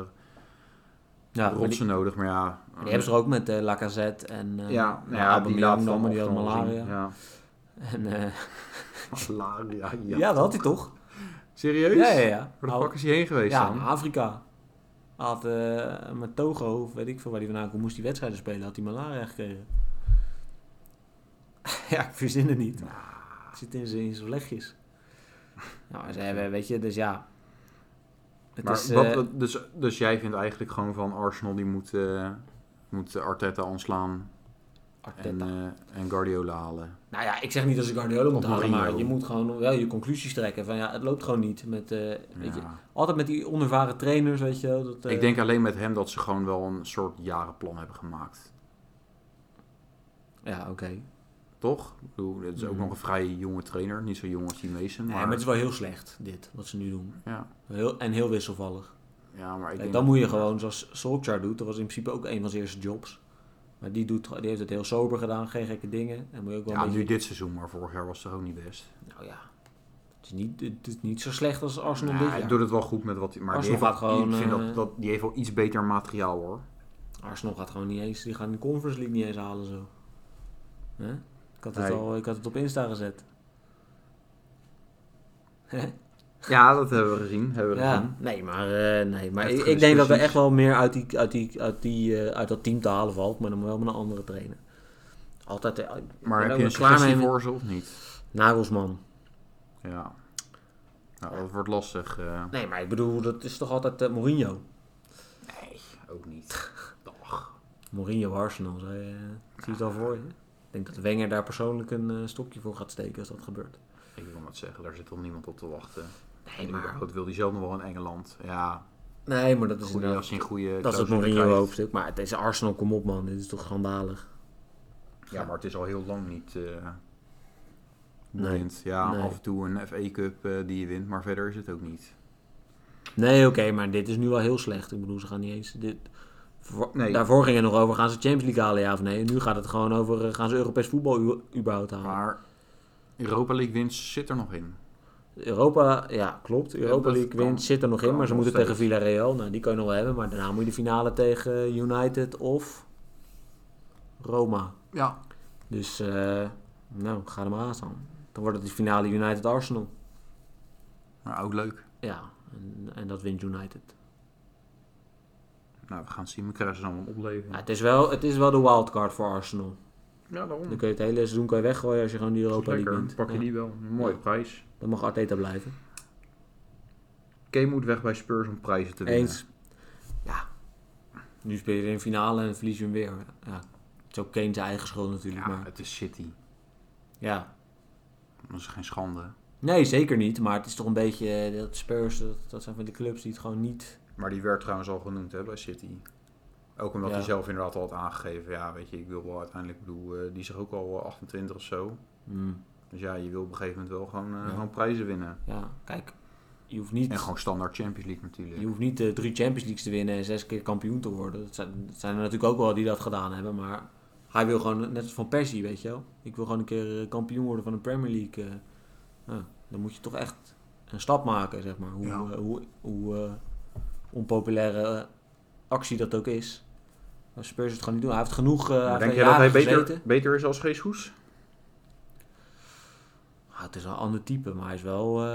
Ja, maar die-
rotsen nodig, maar ja.
Die hebben ze er ook met eh, Lacazette en eh,
ja,
nou,
nou ja, die
Aubameyang
laat
dan,
dan
maar die had
afstand wel
malaria.
zien. Ja.
En, eh,
Malaria,
ja,
ja. *laughs*
dat had hij toch?
Serieus?
Ja, ja, ja.
Waar de
Nou,
fuck is hij heen geweest
ja,
dan?
Afrika. Hij Had eh, met Togo, of weet ik veel waar hij vandaan komt, moest hij wedstrijden spelen. Had hij malaria gekregen. *laughs* ja, ik verzin het
Nou.
niet. Het zit in zijn in zijn
*laughs*
legjes. Nou, ze hebben, weet je, dus ja. Het
Maar
is,
wat-
eh,
wat- dus, dus jij vindt eigenlijk gewoon van Arsenal die moet, eh, moet Arteta ontslaan
Arteta.
en, eh, en Guardiola halen.
Nou ja, ik zeg niet dat ze Guardiola
Of
moeten halen,
Mourinho.
maar je moet gewoon wel je conclusies trekken. Van ja, het loopt gewoon niet met, eh, weet je,
Ja.
Altijd met die onervaren trainers, weet je wel. Dat, eh,
Ik denk alleen met hem dat ze gewoon wel een soort jarenplan hebben gemaakt.
Ja, oké.
Toch? Ik bedoel, het is ook
Mhm.
nog een vrij jonge trainer. Niet zo jong als die Mason.
Nee,
Maar,
maar het is wel heel slecht, dit, wat ze nu doen.
ja.
Heel, en heel wisselvallig.
ja, maar ik
Kijk,
denk...
dan moet je gewoon, zoals Solskjaer doet, dat was in principe ook een van zijn eerste jobs. Maar die, doet, die heeft het heel sober gedaan, geen gekke dingen. En moet je ook wel
Ja,
een
nu
beetje...
dit seizoen, maar vorig jaar was het toch ook niet best.
Nou ja, Het is niet, het is niet zo slecht als Arsenal
Nou,
dit
hij
jaar.
doet het wel goed met wat hij... Maar die
Arsenal
heeft, wel-
gaat gewoon,
ik vind dat,
eh,
dat, die heeft wel iets beter materiaal, hoor.
Arsenal gaat gewoon niet eens, die gaan de Conference League niet eens halen zo. Hè? Ik, had het
Nee.
al, ik had het op Insta gezet.
Ja, dat hebben we gezien. Hebben we
Ja,
gezien.
nee, maar, eh, nee, maar
Heftige
ik, ik denk dat er
discussies.
echt wel meer uit, die, uit, die, uit, die, eh, uit dat team te halen valt, maar dan wel met een andere trainer. Altijd, eh, ik ben
Maar
ook
heb je
wel
een suggestie
met
voor ze of niet?
Nagelsman.
Ja. Nou, dat wordt lastig. eh.
Nee, maar ik bedoel, dat is toch altijd eh, Mourinho?
Nee, ook niet. Dag.
Mourinho Arsenal, zei, eh, zie je het al voor je? Ik denk dat Wenger daar persoonlijk een eh, stokje voor gaat steken als dat gebeurt.
Ik wil maar zeggen, daar zit toch niemand op te wachten.
Nee, maar,
Dat wil hij zelf nog wel in Engeland. Ja,
nee, maar dat is
goede,
inderdaad-
als hij een goede
Dat is het
clausule
Mourinho
krijgt.
hoofdstuk. Maar het is Arsenal, kom op man. Dit is toch schandalig.
Ja, maar het is al heel lang niet eh
Nee.
boeiend. Ja,
Nee.
af en toe een FA Cup eh, die je wint, maar verder is het ook niet.
Nee, oké, maar dit is nu wel heel slecht. Ik bedoel, ze gaan niet eens... Dit... voor-
Nee.
Daarvoor ging het nog over, gaan ze Champions League halen, ja of nee? En nu gaat het gewoon over, eh, gaan ze Europees voetbal u- überhaupt halen?
Maar Europa League winst zit er nog in.
Europa, ja, klopt. Europa
dat
League
kan-
wint zit er nog in,
kan
maar ze
nog
moeten tegen
steeds.
Villarreal. Nou, die kan je nog wel hebben. Maar daarna moet je de finale tegen United of Roma.
Ja.
Dus, eh, nou, ga er maar aan staan. Dan wordt het de finale United-Arsenal.
Maar Nou, ook leuk.
Ja, en, en dat wint United.
Nou, we gaan zien. We krijgen ze dan wel
Ja,
opleveren.
het, is wel, het is wel de wildcard voor Arsenal.
Ja, daarom.
Dan kun je het hele seizoen kan je weggooien als je gewoon die Europa League wint.
Mm. Pak je
Ja,
die wel. Mooie
Ja.
prijs.
Dan mag Arteta blijven.
Kane moet weg bij Spurs om prijzen te winnen.
Eens. Ja. Nu speel je in de finale en verlies je hem weer. Ja. Het is ook Kane zijn eigen schuld natuurlijk.
Ja,
maar,
het is City.
ja.
Dat is geen schande.
Nee, zeker niet. Maar het is toch een beetje... eh, Dat Spurs, dat, dat zijn van die clubs die het gewoon niet...
Maar die werd trouwens al genoemd hè, bij City. Ook omdat
Ja.
hij zelf inderdaad al had aangegeven. Ja, weet je, ik wil wel uiteindelijk, ik bedoel, eh, die is ook al eh, 28 of zo.
Hmm,
Dus ja, je wil op een gegeven moment wel gewoon, eh,
Ja.
gewoon prijzen winnen.
ja, kijk. Je hoeft niet...
En gewoon standaard Champions League natuurlijk.
Je hoeft niet eh, drie Champions Leagues te winnen en zes keer kampioen te worden. Dat zijn, dat zijn er natuurlijk ook wel die dat gedaan hebben. Maar hij wil gewoon, net als van Persie, weet je wel. Ik wil gewoon een keer eh, kampioen worden van de Premier League. eh. Nou, dan moet je toch echt een stap maken, zeg maar. Hoe,
Ja.
eh, hoe, hoe eh, onpopulaire eh, actie dat ook is. Maar Spurs het gewoon niet doen. Hij heeft genoeg eh, hij
Maar
heeft
denk
er
jij dat hij
jaren
beter,
gezeten.
beter is als Jesus?
Ah, het is een ander type, maar hij is wel, eh,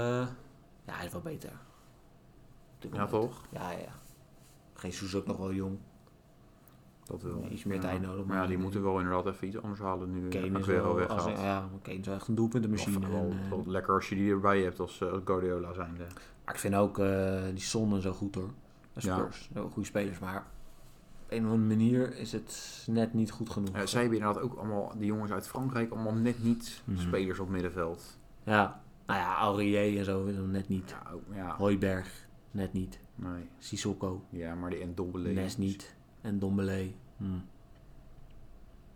ja, hij is wel beter. Op dit
Ja,
moment.
toch?
Ja, ja. Jesus is ook nog wel jong.
Dat wel.
Iets meer
Ja.
tijd nodig,
Maar ja,
maar-
die moeten wel inderdaad even iets anders halen nu
Kane
Kane
is
Aguero
wel,
weggaat.
als, ja, maar Kane is wel echt een doelpuntenmachine.
Wel- wel-
En, eh,
wel lekker als je die erbij hebt als eh, als Guardiola zijnde.
maar ik vind ook eh, die Son zo goed hoor. Bij
Ja.
Spurs, Wel goede spelers, maar op een of andere manier is het net niet goed genoeg.
Eh, zij hebben inderdaad ook allemaal, die jongens uit Frankrijk, allemaal net niet
Mhm.
spelers op middenveld.
Ja, nou ja, Aurier en zo is hem net niet.
Ja, ook- ja,
Hooiberg, net niet.
nee.
Sissoko,
Ja, maar die Ndombele...
Nes niet. En Dombele. Hm.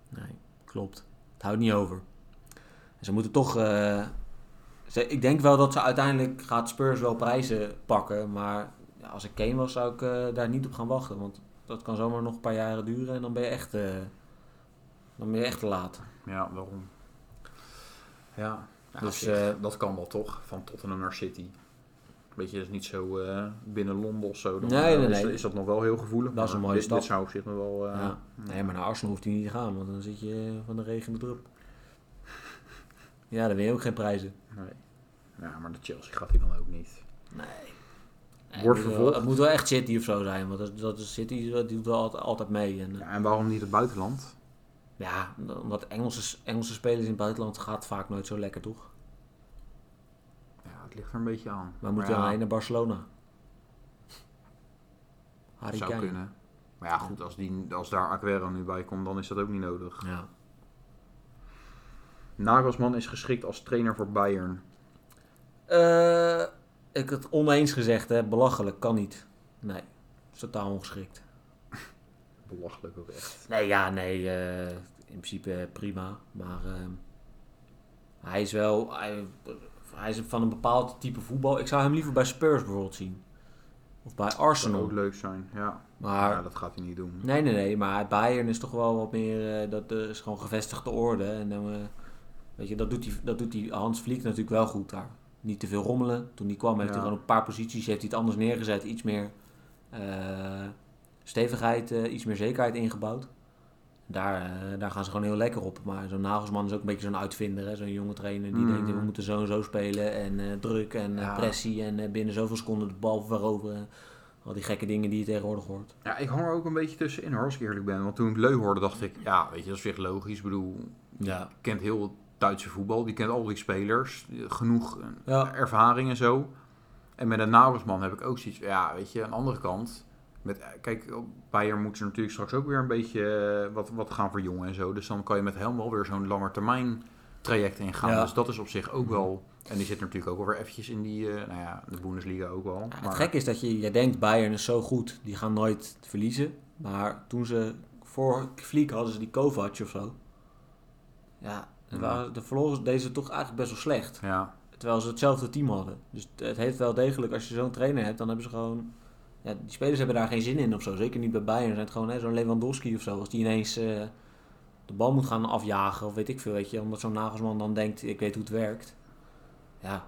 Nee, klopt. Het houdt niet over. En ze moeten toch... eh, ze, ik denk wel dat ze uiteindelijk gaat Spurs wel prijzen pakken. Maar ja, als ik Kane was, zou ik eh, daar niet op gaan wachten. Want dat kan zomaar nog een paar jaren duren. En dan ben je echt, eh, dan ben je echt te laat.
Ja, waarom? Ja,
Dus,
dus,
eh,
dat kan wel toch, van Tottenham naar City. Weet je, dat is niet zo eh, binnen Londen of zo. Dan,
Nee, nee,
eh, is,
nee.
is dat nog wel heel gevoelig.
Dat is
maar
een mooie
dit, dit
stap.
zou op zich nog wel... eh,
Ja. Nee, maar naar Arsenal hoeft hij niet te gaan. Want dan zit je van de regen in de drup. Ja, dan win je ook geen prijzen.
nee. Ja, maar de Chelsea gaat hij dan ook niet.
Nee,
Wordt
het moet wel-
vervolgd.
Het moet wel echt City of zo zijn, want dat, dat is City die doet wel altijd, altijd mee. En, eh,
Ja, en waarom niet het buitenland?
ja, omdat Engelse, Engelse spelers in het buitenland gaat vaak nooit zo lekker, toch?
Ja, het ligt er een beetje aan.
Maar moet je
ja,
alleen naar Barcelona? Harry
zou
Kane.
kunnen. Maar ja, goed, als, die, als daar Aguero nu bij komt, dan is dat ook niet nodig.
Ja.
Nagelsman is geschikt als trainer voor Bayern.
Eh, ik had het oneens gezegd, hè. Belachelijk, kan niet. Nee, is totaal ongeschikt.
Belachelijk ook echt.
Nee, ja, nee. eh, in principe eh, prima. Maar ehm, hij is wel... Hij, hij is van een bepaald type voetbal. Ik zou hem liever bij Spurs bijvoorbeeld zien. Of bij
Zou
Arsenal.
ook leuk zijn, ja. Oh, ja.
Maar...
Dat gaat hij niet doen.
Nee, nee, nee. Maar Bayern is toch wel wat meer... eh, dat eh, is gewoon gevestigde orde. En dan... eh, weet je, dat doet, die, dat doet die Hans Vliek natuurlijk wel goed daar. Niet te veel rommelen. Toen die kwam heeft
Ja.
hij gewoon op een paar posities heeft hij het anders neergezet. Iets meer eh, stevigheid, eh, iets meer zekerheid ingebouwd. Daar, eh, daar gaan ze gewoon heel lekker op. Maar zo'n Nagelsman is ook een beetje zo'n uitvinder. hè. Zo'n jonge trainer die
Mm.
denkt we moeten zo en zo spelen. En eh, druk en eh,
Ja.
pressie en eh, binnen zoveel seconden de bal veroveren. Al die gekke dingen die je tegenwoordig hoort.
Ja, ik hang er ook een beetje tussenin hoor, als ik eerlijk ben. Want toen ik Leu hoorde, dacht ik, ja, weet je, dat is echt logisch. Ik bedoel,
Ja.
die kent heel het Duitse voetbal. Die kent al die spelers. Genoeg eh,
Ja.
ervaring en zo. En met een Nagelsman heb ik ook zoiets, ja, weet je, aan de andere kant. Met, eh, kijk, op Bayern moet ze natuurlijk straks ook weer een beetje eh, wat, wat gaan verjongen en zo. Dus dan kan je met hem wel weer zo'n langetermijn traject ingaan.
Ja.
Dus dat is op zich ook wel... En die zit natuurlijk ook wel weer eventjes in die, eh, nou ja, de Bundesliga ook wel.
Ja,
Maar-
het gekke is dat je, je denkt, Bayern is zo goed, die gaan nooit verliezen. Maar toen ze voor Fliek hadden ze die Kovac of zo. Ja, dan
Ja.
waren de verloren deze toch eigenlijk best wel slecht.
Ja,
Terwijl ze hetzelfde team hadden. Dus het- het heeft wel degelijk, als je zo'n trainer hebt, dan hebben ze gewoon... Ja, die spelers hebben daar geen zin in of zo. Zeker niet bij Bayern. Zijn het gewoon hè, zo'n Lewandowski of zo. Als die ineens eh, de bal moet gaan afjagen of weet ik veel. Weet je, omdat zo'n Nagelsman dan denkt, ik weet hoe het werkt. Ja,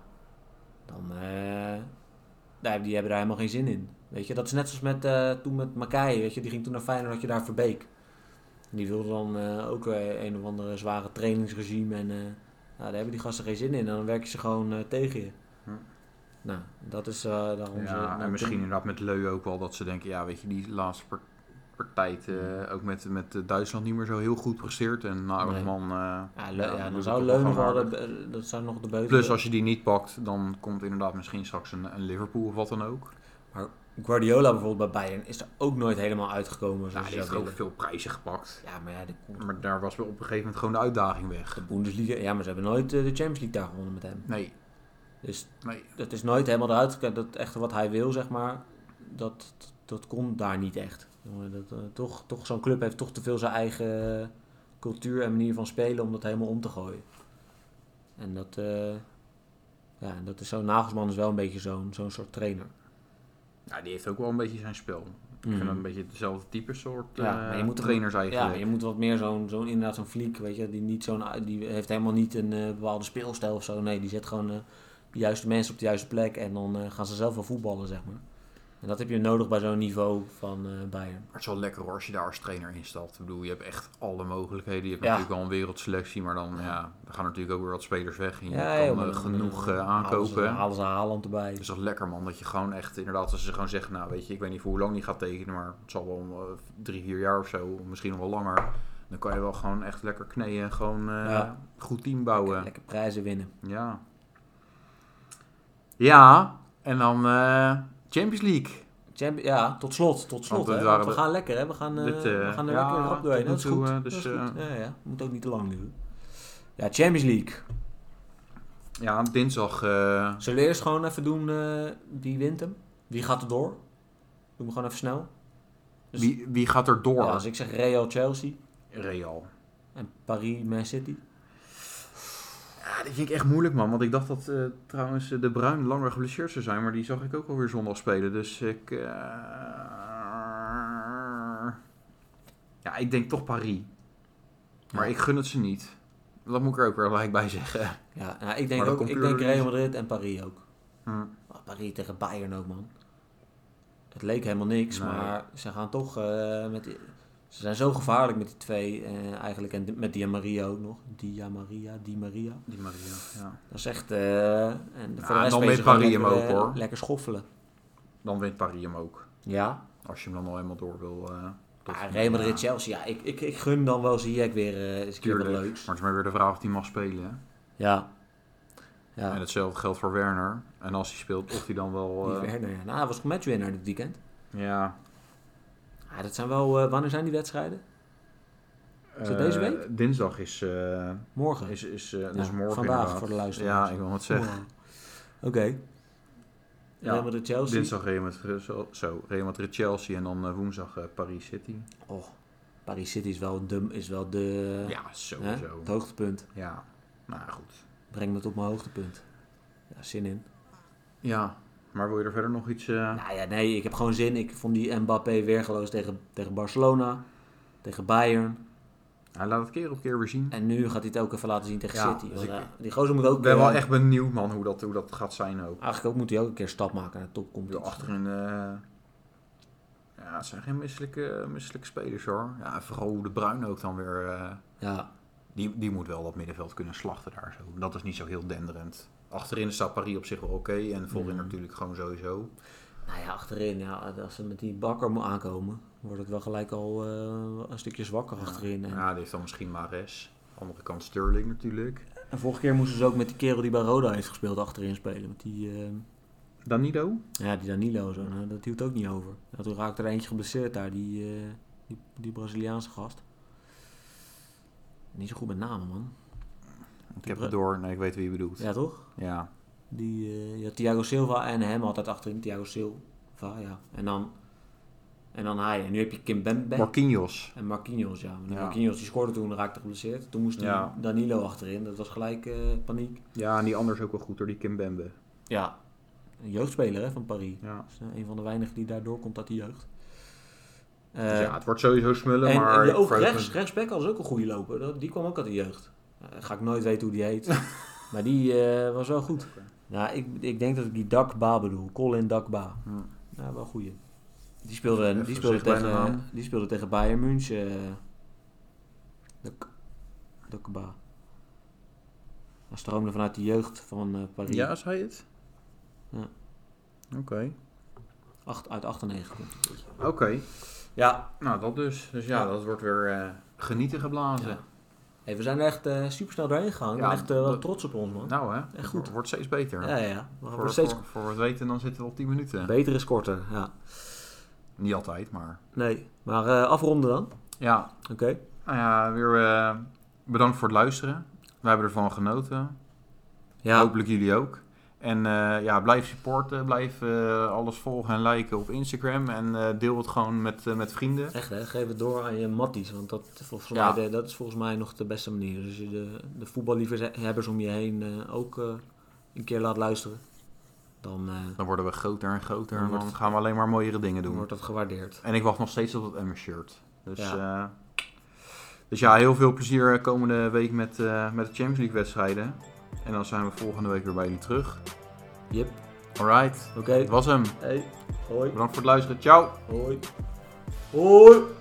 dan... eh daar, die hebben daar helemaal geen zin in. Weet je, dat is net zoals met, eh, toen met Makai. Weet je, die ging toen naar Feyenoord, had je daar Verbeek. En die wilde dan eh, ook eh, een of andere zware trainingsregime. En eh, nou, daar hebben die gasten geen zin in. En dan werk je ze gewoon eh, tegen je.
Hm.
Nou, dat is eh, daarom... ze-
ja en
dan-
misschien inderdaad met Leu ook wel dat ze denken, ja, weet je, die laatste par- partij
Mm.
eh, ook met, met eh, Duitsland niet meer zo heel goed presteert. En Nagelsman... eh,
Ja, Le-
Ja,
ja,
dan
dan
doet
zou
het toch
Leun nog
wel
wel de, be- dat zou nog de beugel...
Plus als je die niet pakt, dan komt inderdaad misschien straks een, een Liverpool of wat dan ook.
Guardiola bijvoorbeeld bij Bayern is er ook nooit helemaal uitgekomen.
Ja,
Zoals
Nou, die
je
heeft
zou
ook
willen.
veel prijzen gepakt.
Ja, maar ja, de,
Maar daar was wel op een gegeven moment gewoon de uitdaging weg.
de Bundesliga... Ja, maar ze hebben nooit eh, de Champions League daar gewonnen met hem.
Nee,
Dus
nee.
dat is nooit helemaal eruit gekomen. Dat echte wat hij wil, zeg maar, dat, dat kon daar niet echt. Jongen, Dat, eh, toch, toch, zo'n club heeft toch te veel zijn eigen eh, cultuur en manier van spelen om dat helemaal om te gooien. En dat, eh, ja, dat is zo'n Nagelsman is wel een beetje zo'n zo'n soort trainer.
Ja, die heeft ook wel een beetje zijn spel. Ik vind dat een beetje hetzelfde type soort
Hmm. Ja,
eh,
maar je moet er-
trainers
Ja,
eigenlijk.
je moet wat meer zo'n, zo'n inderdaad zo'n fliek, weet je, die, niet zo'n, die heeft helemaal niet een eh, bepaalde speelstijl of zo. Nee, die zet gewoon eh, de juiste mensen op de juiste plek en dan eh, gaan ze zelf wel voetballen, zeg maar. En dat heb je nodig bij zo'n niveau van eh Bayern.
Maar het is wel lekker hoor als je daar als trainer instapt. Ik bedoel, je hebt echt alle mogelijkheden. Je hebt
Ja.
natuurlijk al een wereldselectie, maar dan ja, er gaan natuurlijk ook weer wat spelers weg. En je
joh,
kan
maar
eh,
dan,
genoeg
eh,
eh,
Halen ze,
aankopen. Dus
halen ze Haaland erbij.
Het is toch lekker man, dat je gewoon echt, inderdaad, als ze gewoon zeggen, nou weet je, ik weet niet voor hoe lang die gaat tekenen, maar het zal wel om eh, drie, vier jaar of zo, misschien nog wel langer. Dan kan je wel gewoon echt lekker kneeën en gewoon eh,
Ja.
goed team bouwen.
Lekker prijzen winnen.
Ja. Ja, en dan eh, Champions League.
Champ- ja, tot slot, tot slot.
Want dit
hè,
waren
want we
de-
gaan lekker, hè. We gaan, eh,
dit, eh,
we gaan er
ja,
lekker rap
tot
doorheen.
nu
Dat is
toe,
goed.
eh,
dat
dus,
is goed.
eh,
ja, ja. Moet ook niet te lang duren. Ja, Champions League.
Ja, dinsdag. eh,
Zullen we eerst gewoon even doen eh, wie wint hem? Wie gaat er door? Doen we gewoon even snel. Dus-
wie, wie gaat er door?
Ja, als ik zeg Real Chelsea
Real.
en Paris Man City.
Ja, dat vind ik echt moeilijk, man. Want ik dacht dat eh, trouwens eh, de Bruin langer geblesseerd zou zijn. Maar die zag ik ook alweer zondag spelen. Dus ik... eh, Ja, ik denk toch Paris. Maar
Ja.
ik gun het ze niet. Dat moet ik er ook weer gelijk bij zeggen.
Ja, nou, ik denk,
Maar dat
ook,
komt
ik
puur
denk
door
Real
die-
Madrid en Paris ook.
Hm.
Oh, Paris tegen Bayern ook, man. Het leek helemaal niks,
Nee.
maar ze gaan toch eh, met... die- ze zijn zo gevaarlijk met die twee eh, eigenlijk. En di- met Di Maria ook nog. Dia Maria, Di Maria.
Die Maria, ja.
Dat is echt... eh, en voor de
en
rest
dan
spelen
weet
ze gewoon
Paris hem
lekker,
ook,
eh,
hoor.
Lekker schoffelen.
Dan wint Paris hem ook.
Ja,
Als je hem dan al helemaal door wil. eh tot-
Ah, Real Madrid,
Ja.
Chelsea. Ja, ik, ik, ik gun dan wel Ziyech weer eh, eens een keer wat
Tuurlijk.
leuks.
Maar het is maar weer de vraag of hij mag spelen. hè.
Ja. Ja,
En hetzelfde geldt voor Werner. En als hij speelt, of hij dan wel...
die
eh,
Werner. ja. Nou, hij was matchwinnaar dit weekend.
ja,
Ah, dat zijn wel... eh, wanneer zijn die wedstrijden? Is het
Eh,
deze week?
Dinsdag is, eh,
Morgen.
is, is, eh, dus
Ja,
morgen.
vandaag
inderdaad.
voor de luisteraars.
Ja, ik wil het zeggen.
Morgen. Oké.
Ja,
Real Madrid, Chelsea.
Dinsdag Real Madrid, zo, Real Madrid Chelsea en dan eh, woensdag eh, Paris City.
Oh, Paris City is wel de... Is wel de
ja,
hè,
sowieso.
het hoogtepunt.
Ja, nou goed.
Breng me tot mijn hoogtepunt. Ja, zin in.
Ja, maar wil je er verder nog iets... eh,
Nou ja, nee, ik heb gewoon zin. Ik vond die Mbappé weergeloos tegen, tegen Barcelona. Tegen Bayern.
Hij laat het keer op keer weer zien.
En nu gaat hij het ook even laten zien tegen
Ja,
City.
dus
Want,
ik-
ja, die gozer moet ook...
Ik ben
eh,
wel echt benieuwd, man, hoe dat, hoe dat gaat zijn ook.
Eigenlijk ook moet hij ook een keer stap maken naar de
Joh,
topcompetitie.
achterin. eh, ja, het zijn geen misselijke, misselijke spelers hoor. Ja, en vooral hoe de Bruin ook dan weer. eh,
Ja,
die, die moet wel dat middenveld kunnen slachten daar zo. Dat is niet zo heel denderend. Achterin staat Paris op zich wel oké. en voorin
Mm.
natuurlijk gewoon sowieso.
nou ja, achterin. Ja, als ze met die bakker moet aankomen, wordt het wel gelijk al eh, een stukje zwakker achterin. En,
Ja, die heeft dan misschien Mares. Andere kant Sterling natuurlijk.
en vorige keer moesten ze ook met die kerel die bij Roda heeft gespeeld achterin spelen. Met die, eh,
Danilo?
ja, die Danilo zo. Nou, dat hield ook niet over. Ja, toen raakte er eentje geblesseerd daar, die, eh, die, die Braziliaanse gast. Niet zo goed met namen, man.
Ik heb het door. Nee, ik weet wie je bedoelt. Ja.
Ja, toch? Die, eh, ja, Thiago Silva en hem altijd achterin. Thiago Silva, ja. En dan, en dan hij. En nu heb je Kim Bembe
Marquinhos.
en Marquinhos, ja. Maar die
Ja.
Marquinhos die scoorde toen, raakte geblesseerd. Toen moest die
Ja.
Danilo achterin. Dat was gelijk eh, paniek.
Ja, en die anders ook wel goed door die Kimbembe.
Ja, een jeugdspeler hè, van Paris.
Ja.
Dat is eh, een van de weinigen die daar doorkomt uit de jeugd. Eh,
Dus ja, het wordt sowieso smullen,
en,
maar...
en
ik
ook
verheug me-
rechts, rechtsback was ook een goede loper. Dat- Die kwam ook uit de jeugd. Eh, ga ik nooit weten hoe die
*laughs*
heet. maar die eh, was wel goed. Ja, ik, ik denk dat ik die Dakba bedoel. Colin Dakba.
Hm.
Ja, wel goeie. Die speelde,
Even
die speelde,
zichtbaar de
tegen,
naam.
die speelde tegen Bayern München. eh, Dak- Dakba. Hij stroomde vanuit de jeugd van eh, Paris.
Ja, zei je het?
Ja.
Oké.
Acht, uit 98. komt hij.
Oké.
Ja,
Nou, dat dus. Dus ja,
Ja.
dat wordt weer eh, genieten geblazen.
Ja. Hey, we zijn er echt eh super snel doorheen gegaan. Ik
Ja,
ben echt eh, wel
dat-
trots op ons, man.
Nou hè,
Echt
het
goed.
wo- wordt steeds beter.
ja, ja, ja. We
Voor,
worden steeds
voor, voor het weten dan zitten we op 10 minuten.
beter is korter. Ja.
Niet altijd, maar...
Nee, maar eh, afronden dan.
Ja,
Oké.
nou ja, weer eh, bedankt voor het luisteren. Wij hebben ervan genoten.
Ja,
Hopelijk jullie ook. En eh, ja, blijf supporten. Blijf eh, alles volgen en liken op Instagram. En eh, deel het gewoon met, eh, met vrienden.
echt hè. Geef het door aan je matties. Want dat, volgens
Ja.
mij, de- dat is volgens mij nog de beste manier. Dus je de, de voetballiefhebbers om je heen eh, ook eh, een keer laat luisteren. Dan eh,
Dan worden we groter en groter.
Dan
En dan
wordt-
gaan we alleen maar mooiere dingen doen.
wordt dat gewaardeerd.
En ik wacht nog steeds op dat Emmer-shirt. Dus
Ja.
ja. dus ja, heel veel plezier komende week met, eh, met de Champions League wedstrijden. En dan zijn we volgende week weer bij jullie terug.
Jip.
Alright,
Oké.
dit was hem.
Hey. Hoi.
Bedankt voor het luisteren. Ciao!
Hoi. Hoi.